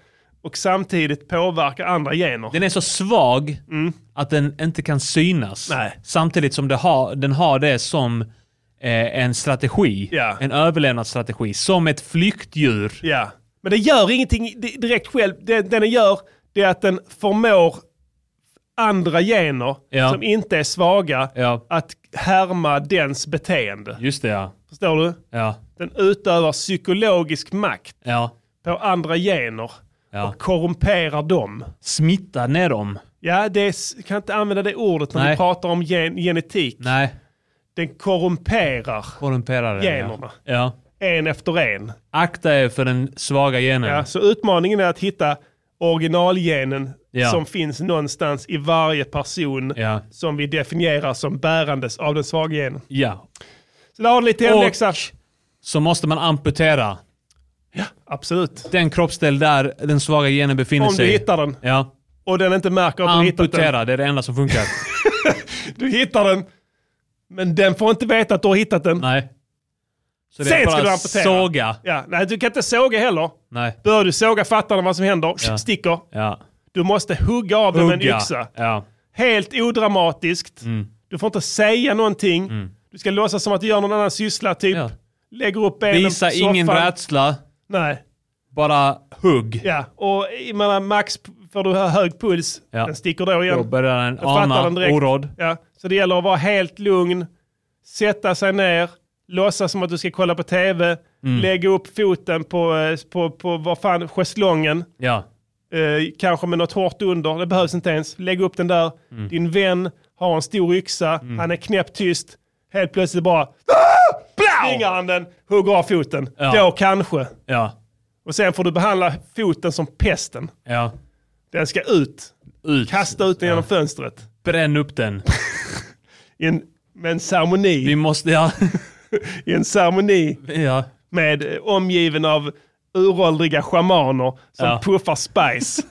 Speaker 1: Och samtidigt påverkar andra gener.
Speaker 2: Den är så svag
Speaker 1: Mm.
Speaker 2: att den inte kan synas. Samtidigt som det har, den har det som eh, en strategi.
Speaker 1: Ja.
Speaker 2: En överlevnadsstrategi. Som ett flyktdjur.
Speaker 1: Ja, men den gör ingenting di- direkt själv. Det, det den gör det är att den förmår andra gener
Speaker 2: Ja.
Speaker 1: som inte är svaga
Speaker 2: Ja.
Speaker 1: att härma dens beteende.
Speaker 2: Just det ja.
Speaker 1: Förstår du?
Speaker 2: Ja.
Speaker 1: Den utövar psykologisk makt
Speaker 2: ja.
Speaker 1: på andra gener
Speaker 2: Ja.
Speaker 1: och korrumperar dem.
Speaker 2: Smittar ner dem.
Speaker 1: Ja, det är, s- kan inte använda det ordet när
Speaker 2: Nej.
Speaker 1: vi pratar om gen, genetik.
Speaker 2: Nej.
Speaker 1: Den korrumperar
Speaker 2: Korrumperar den.
Speaker 1: generna.
Speaker 2: Ja. ja.
Speaker 1: en efter en.
Speaker 2: Akta er för den svaga genen.
Speaker 1: Ja, så utmaningen är att hitta originalgenen
Speaker 2: Ja.
Speaker 1: som finns någonstans i varje person
Speaker 2: Ja.
Speaker 1: som vi definierar som bärandes av den svaga genen.
Speaker 2: Ja.
Speaker 1: Så där har du lite
Speaker 2: Och-
Speaker 1: hemläxa.
Speaker 2: Så måste man amputera.
Speaker 1: Absolut.
Speaker 2: Den kroppsdel där den svaga genen befinner
Speaker 1: Om
Speaker 2: sig.
Speaker 1: du hittar den
Speaker 2: Ja.
Speaker 1: och den inte märker att du hittat den.
Speaker 2: Amputera, det är det enda som
Speaker 1: [laughs]
Speaker 2: funkar.
Speaker 1: Du hittar den, men den får inte veta att du har hittat den.
Speaker 2: Nej. Så det är
Speaker 1: Sen
Speaker 2: bara
Speaker 1: ska du amputera.
Speaker 2: såga.
Speaker 1: Ja, nej, du kan inte såga heller.
Speaker 2: Nej.
Speaker 1: Bör du såga fattar den vad som händer.
Speaker 2: Ja.
Speaker 1: Sticker.
Speaker 2: Ja.
Speaker 1: Du måste hugga av den med en
Speaker 2: Hugga. Mm.
Speaker 1: yxa.
Speaker 2: Ja.
Speaker 1: Helt odramatiskt. Du får inte säga någonting.
Speaker 2: Mm.
Speaker 1: Du ska låtsas som att du gör någon annan syssla, typ. Lägger upp benen
Speaker 2: Visa
Speaker 1: på soffan.
Speaker 2: ingen rädsla.
Speaker 1: Nej.
Speaker 2: Bara hugg.
Speaker 1: Ja, och jag menar, max p- får du ha hög puls,
Speaker 2: Ja.
Speaker 1: den sticker då igen.
Speaker 2: Då börjar den
Speaker 1: Jag fattar
Speaker 2: ana
Speaker 1: den direkt.
Speaker 2: oråd.
Speaker 1: Ja. Så det gäller att vara helt lugn, sätta sig ner, låtsas som att du ska kolla på tv,
Speaker 2: Mm.
Speaker 1: lägga upp foten på, eh, på, på vad fan, schäslongen.
Speaker 2: Ja.
Speaker 1: Eh, kanske med något hårt under, det behövs inte ens. Lägg upp den där. Din vän har en stor yxa, han är knäpptyst. Helt plötsligt bara... Svingar han den, hugger av foten.
Speaker 2: Ja.
Speaker 1: Då kanske.
Speaker 2: Ja.
Speaker 1: Och sen får du behandla foten som pesten.
Speaker 2: Ja.
Speaker 1: Den ska ut. Kasta ut den genom fönstret.
Speaker 2: Bränn upp den.
Speaker 1: I en, med en ceremoni. Vi
Speaker 2: måste, [laughs] ja.
Speaker 1: I en ceremoni.
Speaker 2: Ja.
Speaker 1: Med eh, omgiven av uråldriga schamaner som
Speaker 2: Ja. [laughs]
Speaker 1: puffar spice.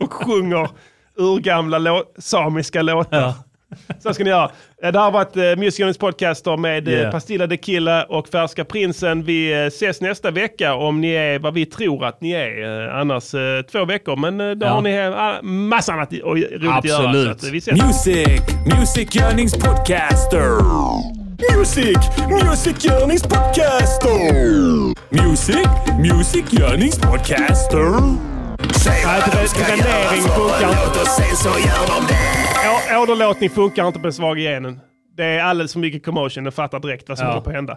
Speaker 1: och sjunger urgamla lå- samiska låtar. Så ska ni göra. Eh, Det här har varit eh, Music Units podcast då med yeah.
Speaker 2: Yeah.
Speaker 1: Pastilla de Killa och Färska Prinsen. Vi eh, ses nästa vecka om ni är vad vi tror att ni är. Eh, Annars eh, två veckor, men eh, då
Speaker 2: Ja.
Speaker 1: har ni eh, ah, massa annat i- och roligt att göra. Så
Speaker 2: Absolut.
Speaker 1: att, eh, vi ses.
Speaker 14: Music, Music Yearnings Podcaster. Music, Music Yearnings Podcaster. Music, Music Yearnings Podcaster. Säg vad de ska göra
Speaker 1: eh, rendering
Speaker 14: så får
Speaker 1: funkar
Speaker 14: man låt och sen så gör de det.
Speaker 1: Å- Åderlåtning funkar inte på den svaga genen. Det är alldeles för mycket commotion. Den fattar direkt vad som
Speaker 2: Ja.
Speaker 1: håller på att hända.